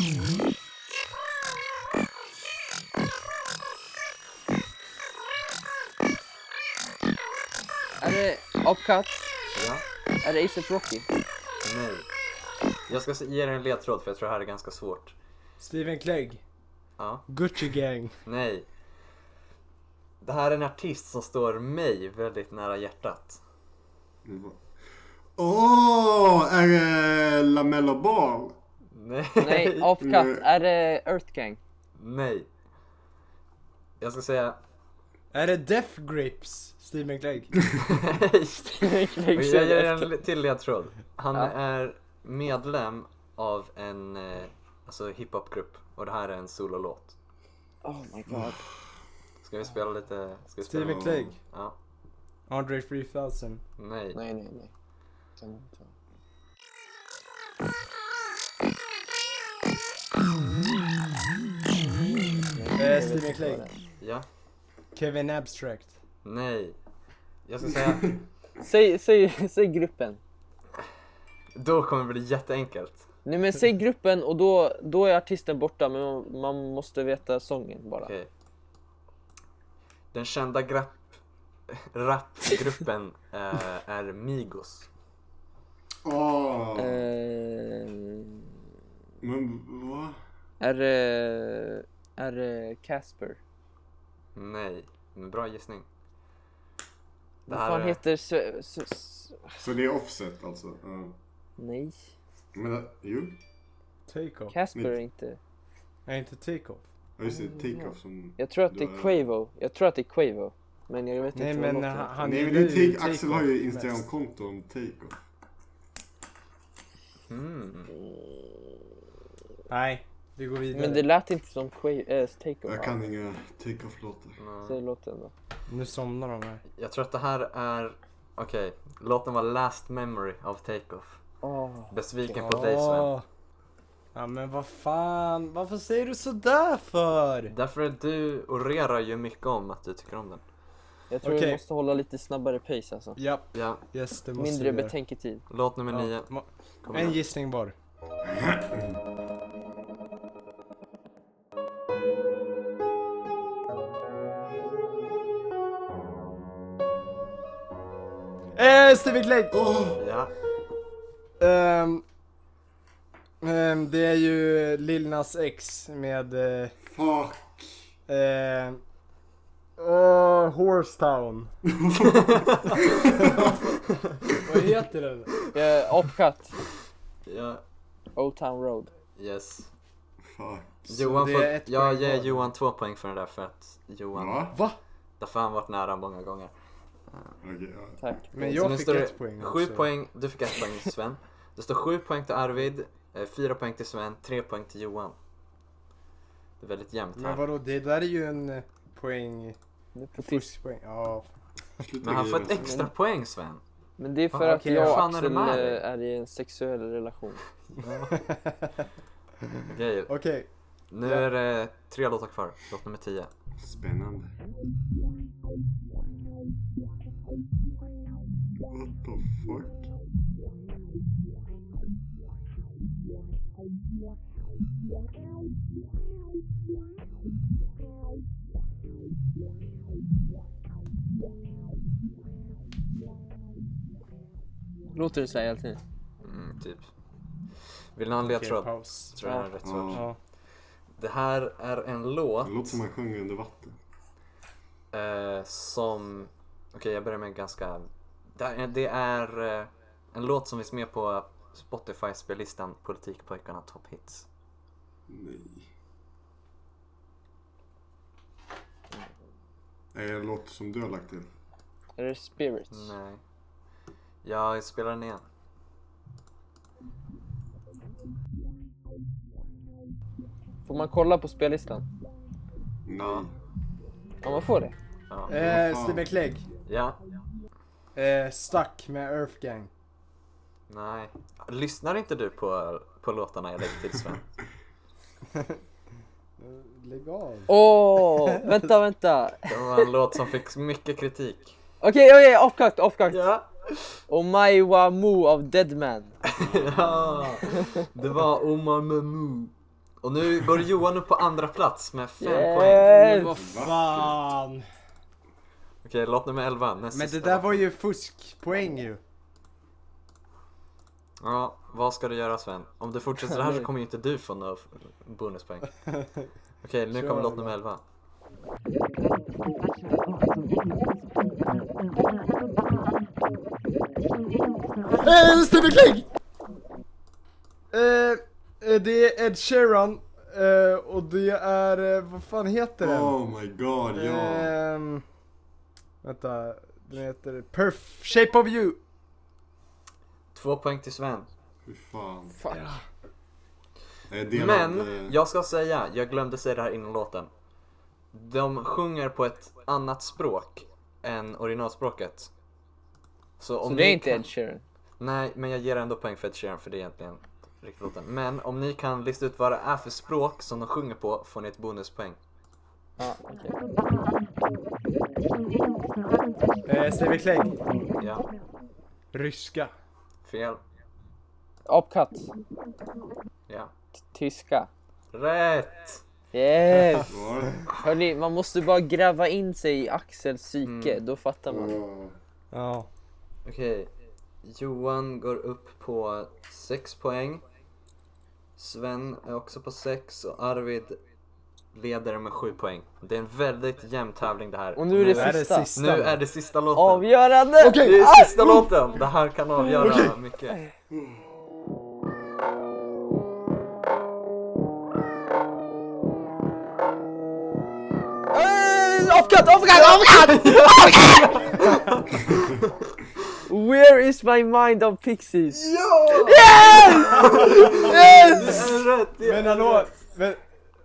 Speaker 2: Är det Apkatt?
Speaker 3: Ja.
Speaker 2: Är det ASAP Rocky? <laughs>
Speaker 3: Nej. Jag ska ge dig en ledtråd för jag tror det här är ganska svårt.
Speaker 1: Steven Clegg.
Speaker 3: Ja.
Speaker 1: Gucci Gang.
Speaker 3: Nej. Det här är en artist som står mig väldigt nära hjärtat.
Speaker 4: Åh, är det Lamello Ball?
Speaker 3: Nej.
Speaker 2: Nej, Apkatt.
Speaker 4: Mm.
Speaker 2: Är det Earth Gang?
Speaker 3: <laughs>
Speaker 2: <laughs>
Speaker 3: Nej. Jag ska säga...
Speaker 1: Är det Death Grips? Steven Clegg.
Speaker 3: Nej. Jag ger en le- till ledtråd. Han
Speaker 2: Ja.
Speaker 3: är medlem av en eh, alltså hiphopgrupp och det här är en sololåt.
Speaker 2: Oh my god.
Speaker 3: Ska vi spela lite? Ska vi spela?
Speaker 1: Steven Clegg.
Speaker 3: Ja.
Speaker 1: Andre 3000.
Speaker 3: Nej.
Speaker 2: Nej, nej, nej. Kan inte.
Speaker 1: Eh, Steven Clegg.
Speaker 3: Ja.
Speaker 1: Kevin Abstract.
Speaker 3: Nej. Jag ska säga...
Speaker 2: <laughs> Säg, säg, <laughs> säg gruppen.
Speaker 3: Då kommer det bli jätteenkelt.
Speaker 2: Nej men säg gruppen och då, då är artisten borta men man- man måste veta sången bara.
Speaker 3: Okej. Den kända grapp... rapgruppen eh, är Migos.
Speaker 4: Åh!
Speaker 2: Eh,
Speaker 4: Men vad?
Speaker 2: är det... Är det Casper?
Speaker 3: Nej, men bra gissning. Det
Speaker 2: Vad
Speaker 3: här
Speaker 2: fan
Speaker 3: är-
Speaker 2: heter... Sö- Sö- Sö-
Speaker 4: Så det är offset alltså? Ja.
Speaker 2: Nej.
Speaker 4: Men eh, jo,
Speaker 1: Take-off?
Speaker 2: Casper är
Speaker 4: Mitt-
Speaker 2: inte...
Speaker 1: Nej, inte take-off.
Speaker 4: ja, just det. Take-off som...
Speaker 2: Jag tror att det
Speaker 4: Då
Speaker 2: är
Speaker 4: är-
Speaker 2: Quavo. Jag tror att det är Quavo. Men jag vet
Speaker 1: Nej
Speaker 2: inte vad
Speaker 1: men eh,
Speaker 2: låten
Speaker 1: han,
Speaker 2: heter.
Speaker 1: han
Speaker 4: Nej men det
Speaker 1: gillar
Speaker 4: är
Speaker 1: ju
Speaker 4: take, Axel har
Speaker 1: take-off
Speaker 4: ju
Speaker 1: mest.
Speaker 4: Instagram-konto om take-off.
Speaker 3: Mm.
Speaker 1: Nej, vi går vidare.
Speaker 2: Men det lät inte som Quavo... Äh, Takeover.
Speaker 4: Jag kan inga take-off-låtar.
Speaker 2: Säg låten då.
Speaker 1: Nu somnar de här.
Speaker 3: Jag tror att det här är... Okej, låten var Last Memory av Takeoff. Ah.
Speaker 2: Åh.
Speaker 3: Besviken på dig Sven.
Speaker 1: Åh. Ja men vad fan, varför säger du sådär för?
Speaker 3: Därför att du orerar ju mycket om att du tycker om den.
Speaker 2: Jag tror vi
Speaker 1: Okej.
Speaker 2: måste hålla lite snabbare pace alltså.
Speaker 1: Ja,
Speaker 3: Ja,
Speaker 1: yes det måste
Speaker 2: Mindre
Speaker 1: vi göra.
Speaker 2: betänketid.
Speaker 3: låt nummer
Speaker 1: Ja,
Speaker 3: nio.
Speaker 1: ma-
Speaker 3: Kom
Speaker 1: En
Speaker 3: igen.
Speaker 1: gissning bara. Eh, Stevie Clay!
Speaker 3: Ja,
Speaker 1: Ehm, ehm, det är ju Lil Nas X med... eh,
Speaker 4: Fuck!
Speaker 1: Eh, åh, Horsetown. Vad heter den?
Speaker 2: Uh, Opcat.
Speaker 3: ja,
Speaker 2: Old Town Road.
Speaker 3: yes.
Speaker 4: Fuck.
Speaker 3: Johan
Speaker 1: det
Speaker 3: får,
Speaker 1: är ett
Speaker 3: jag
Speaker 1: poäng
Speaker 3: ger
Speaker 1: var.
Speaker 3: Johan två poäng för den där för att Johan,
Speaker 4: Va?
Speaker 1: Va?
Speaker 3: därför har han varit nära många gånger.
Speaker 4: Okej, ja.
Speaker 2: Tack.
Speaker 1: Men
Speaker 3: Så nu
Speaker 1: jag fick
Speaker 3: står det
Speaker 1: ett poäng.
Speaker 3: Sju
Speaker 1: också.
Speaker 3: poäng, du fick ett poäng Sven. Det står sju poäng till Arvid, eh, fyra poäng till Sven, tre poäng till Johan. Det är väldigt jämnt
Speaker 1: Men
Speaker 3: här.
Speaker 1: vadå, det där är ju en eh, poäng...
Speaker 2: Nu på tis-
Speaker 1: Fuskpoäng. Ja.
Speaker 4: Sluta
Speaker 3: Men han får ett
Speaker 4: grina.
Speaker 3: extra poäng Sven.
Speaker 2: Men det är för
Speaker 1: Ja,
Speaker 2: att
Speaker 1: okej,
Speaker 2: jag
Speaker 1: vad
Speaker 2: och
Speaker 3: fan är det
Speaker 2: Axel
Speaker 3: med dig?
Speaker 2: eh, är i en sexuell relation.
Speaker 3: Okej,
Speaker 1: Okej.
Speaker 3: nu är det tre låtar kvar. Låt nummer tio.
Speaker 4: Spännande. What the fuck?
Speaker 2: Låter det så här hela tiden?
Speaker 3: Mm, typ. Vill ni ha en ledtråd?
Speaker 1: Okej,
Speaker 3: Jag
Speaker 1: paus.
Speaker 3: tror det här är rätt svårt.
Speaker 1: Ja.
Speaker 3: Det här är en låt
Speaker 4: Det låter som han sjunger under vatten.
Speaker 3: eh, som... Okej, jag börjar med en ganska... Det är, det är eh, en låt som finns med på Spotify-spellistan Politikpojkarna Top Hits.
Speaker 4: Nej. Är det en låt som du har lagt till?
Speaker 2: Är det Spirits?
Speaker 4: Mm.
Speaker 3: Nej. Jag spelar den igen.
Speaker 2: Får man kolla på spellistan?
Speaker 4: Nej.
Speaker 2: Ja, man får det.
Speaker 3: Ja.
Speaker 1: Eh,
Speaker 4: fan.
Speaker 1: Steve Clegg.
Speaker 3: ja.
Speaker 1: Eh, Stuck med Earthgang.
Speaker 3: Nej. Lyssnar inte du på, på låtarna jag lägger till Sven?
Speaker 1: Lägg av.
Speaker 2: Åh, vänta, vänta.
Speaker 3: Det var en låt som fick mycket kritik.
Speaker 2: Okej, okej, offcut, offcut.
Speaker 3: Ja.
Speaker 2: Och My Wa Mu av Deadman.
Speaker 3: <laughs> ja. Det var Omar Mamu. Och nu går Johan upp på andra plats med fem poäng.
Speaker 2: Yes!
Speaker 1: Vad fan.
Speaker 3: Okej, låt nummer 11. Näst
Speaker 1: Men det
Speaker 3: sista.
Speaker 1: där var ju fuskpoäng ju.
Speaker 3: Ja, vad ska du göra Sven? Om du fortsätter så här så kommer ju inte du få några f-
Speaker 1: <laughs>
Speaker 3: bonuspoäng. Okej, nu kommer låt nummer 11.
Speaker 1: Eh, Steve Clegg! Eh, eh, det är Ed Sheeran. Eh, och det är, eh, vad fan heter den?
Speaker 4: Oh my god,
Speaker 3: Eh.
Speaker 4: ja.
Speaker 1: Ehm, vänta, den heter Perf Shape of You.
Speaker 3: Två poäng till Sven.
Speaker 4: Fy fan.
Speaker 2: Fuck.
Speaker 4: Jag är delad,
Speaker 3: Men
Speaker 4: eh,
Speaker 3: jag ska säga, jag glömde säga det här innan låten. De sjunger på ett annat språk än originalspråket. Så om
Speaker 2: Så
Speaker 3: ni
Speaker 2: det är inte
Speaker 3: kan...
Speaker 2: Ed Sheeran.
Speaker 3: Nej, men jag ger ändå poäng för Ed Sheeran för det är egentligen riktigt låten. Men om ni kan lista ut vad det är för språk som de sjunger på får ni ett bonuspoäng.
Speaker 2: Ja, okej.
Speaker 1: Eh, Stevie Clegg.
Speaker 3: Ja,
Speaker 1: Ryska.
Speaker 3: fel.
Speaker 2: Opcut.
Speaker 3: Ja,
Speaker 2: Tyska.
Speaker 3: rätt!
Speaker 2: Yes!
Speaker 4: Ja.
Speaker 2: <laughs> Hörni, man måste bara gräva in sig i Axels psyke, då fattar man.
Speaker 4: Ja.
Speaker 1: Ja.
Speaker 3: Okej. Johan går upp på 6 poäng. Sven är också på 6 och Arvid leder med 7 poäng. Det är en väldigt jämn tävling det här.
Speaker 2: Och nu är det
Speaker 1: Nu är det
Speaker 2: sista.
Speaker 1: sista.
Speaker 3: Nu är det sista låten.
Speaker 2: Avgörande! Ah!
Speaker 3: Det
Speaker 4: Okej!
Speaker 3: är sista låten! Det här kan avgöra mycket.
Speaker 2: Eh, Off-cut, off-cut, off-cut! <laughs> Where is my mind of pixies? <laughs>
Speaker 3: Det är rätt! Det är
Speaker 1: Men hallå!
Speaker 3: rätt.
Speaker 1: Men,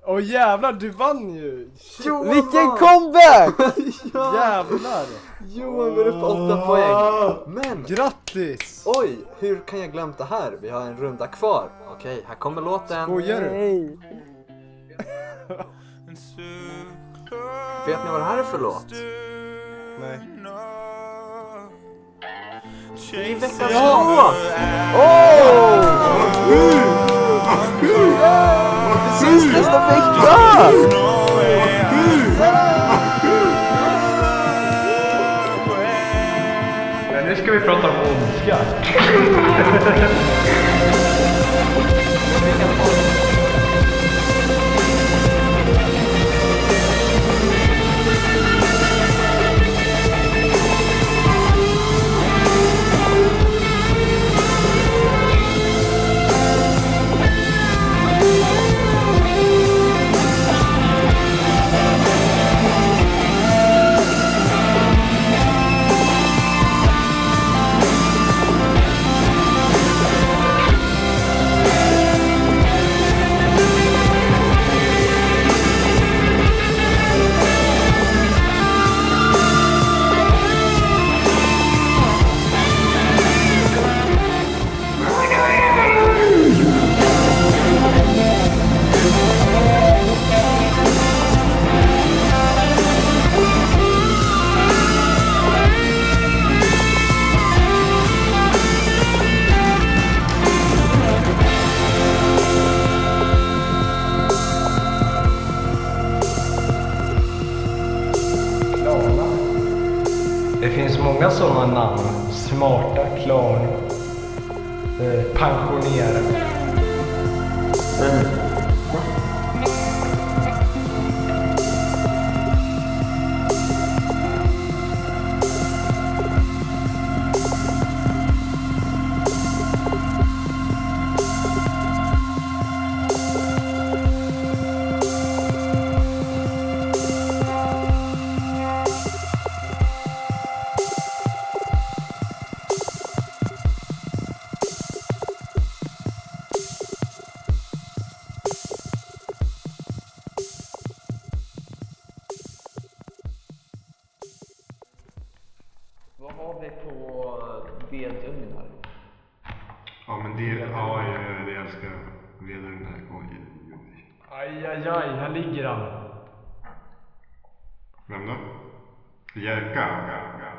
Speaker 1: åh jävlar, du vann ju!
Speaker 3: Johan
Speaker 2: Vilken
Speaker 3: vann!
Speaker 2: comeback! <laughs>
Speaker 3: Ja,
Speaker 1: Jävlar!
Speaker 3: Johan går upp på 8 poäng. Men
Speaker 1: Grattis!
Speaker 3: oj, hur kan jag glömt det här? Vi har en runda kvar. Okej, här kommer låten.
Speaker 1: Skojar du?
Speaker 2: Nej.
Speaker 3: Vet ni vad det här är för låt?
Speaker 1: Nej.
Speaker 3: Det är veckans låt!
Speaker 2: Nästa vecka!
Speaker 1: Klarna. Det finns många sådana namn. Smarta, Klarna. Eh, pensionerade.
Speaker 2: Vad har vi på vedugnar?
Speaker 4: Ja men det, ja, jag- det älskar jag. Redan den här gången.
Speaker 1: Aj, aj, aj, här ligger han.
Speaker 4: Vem då? Jerka?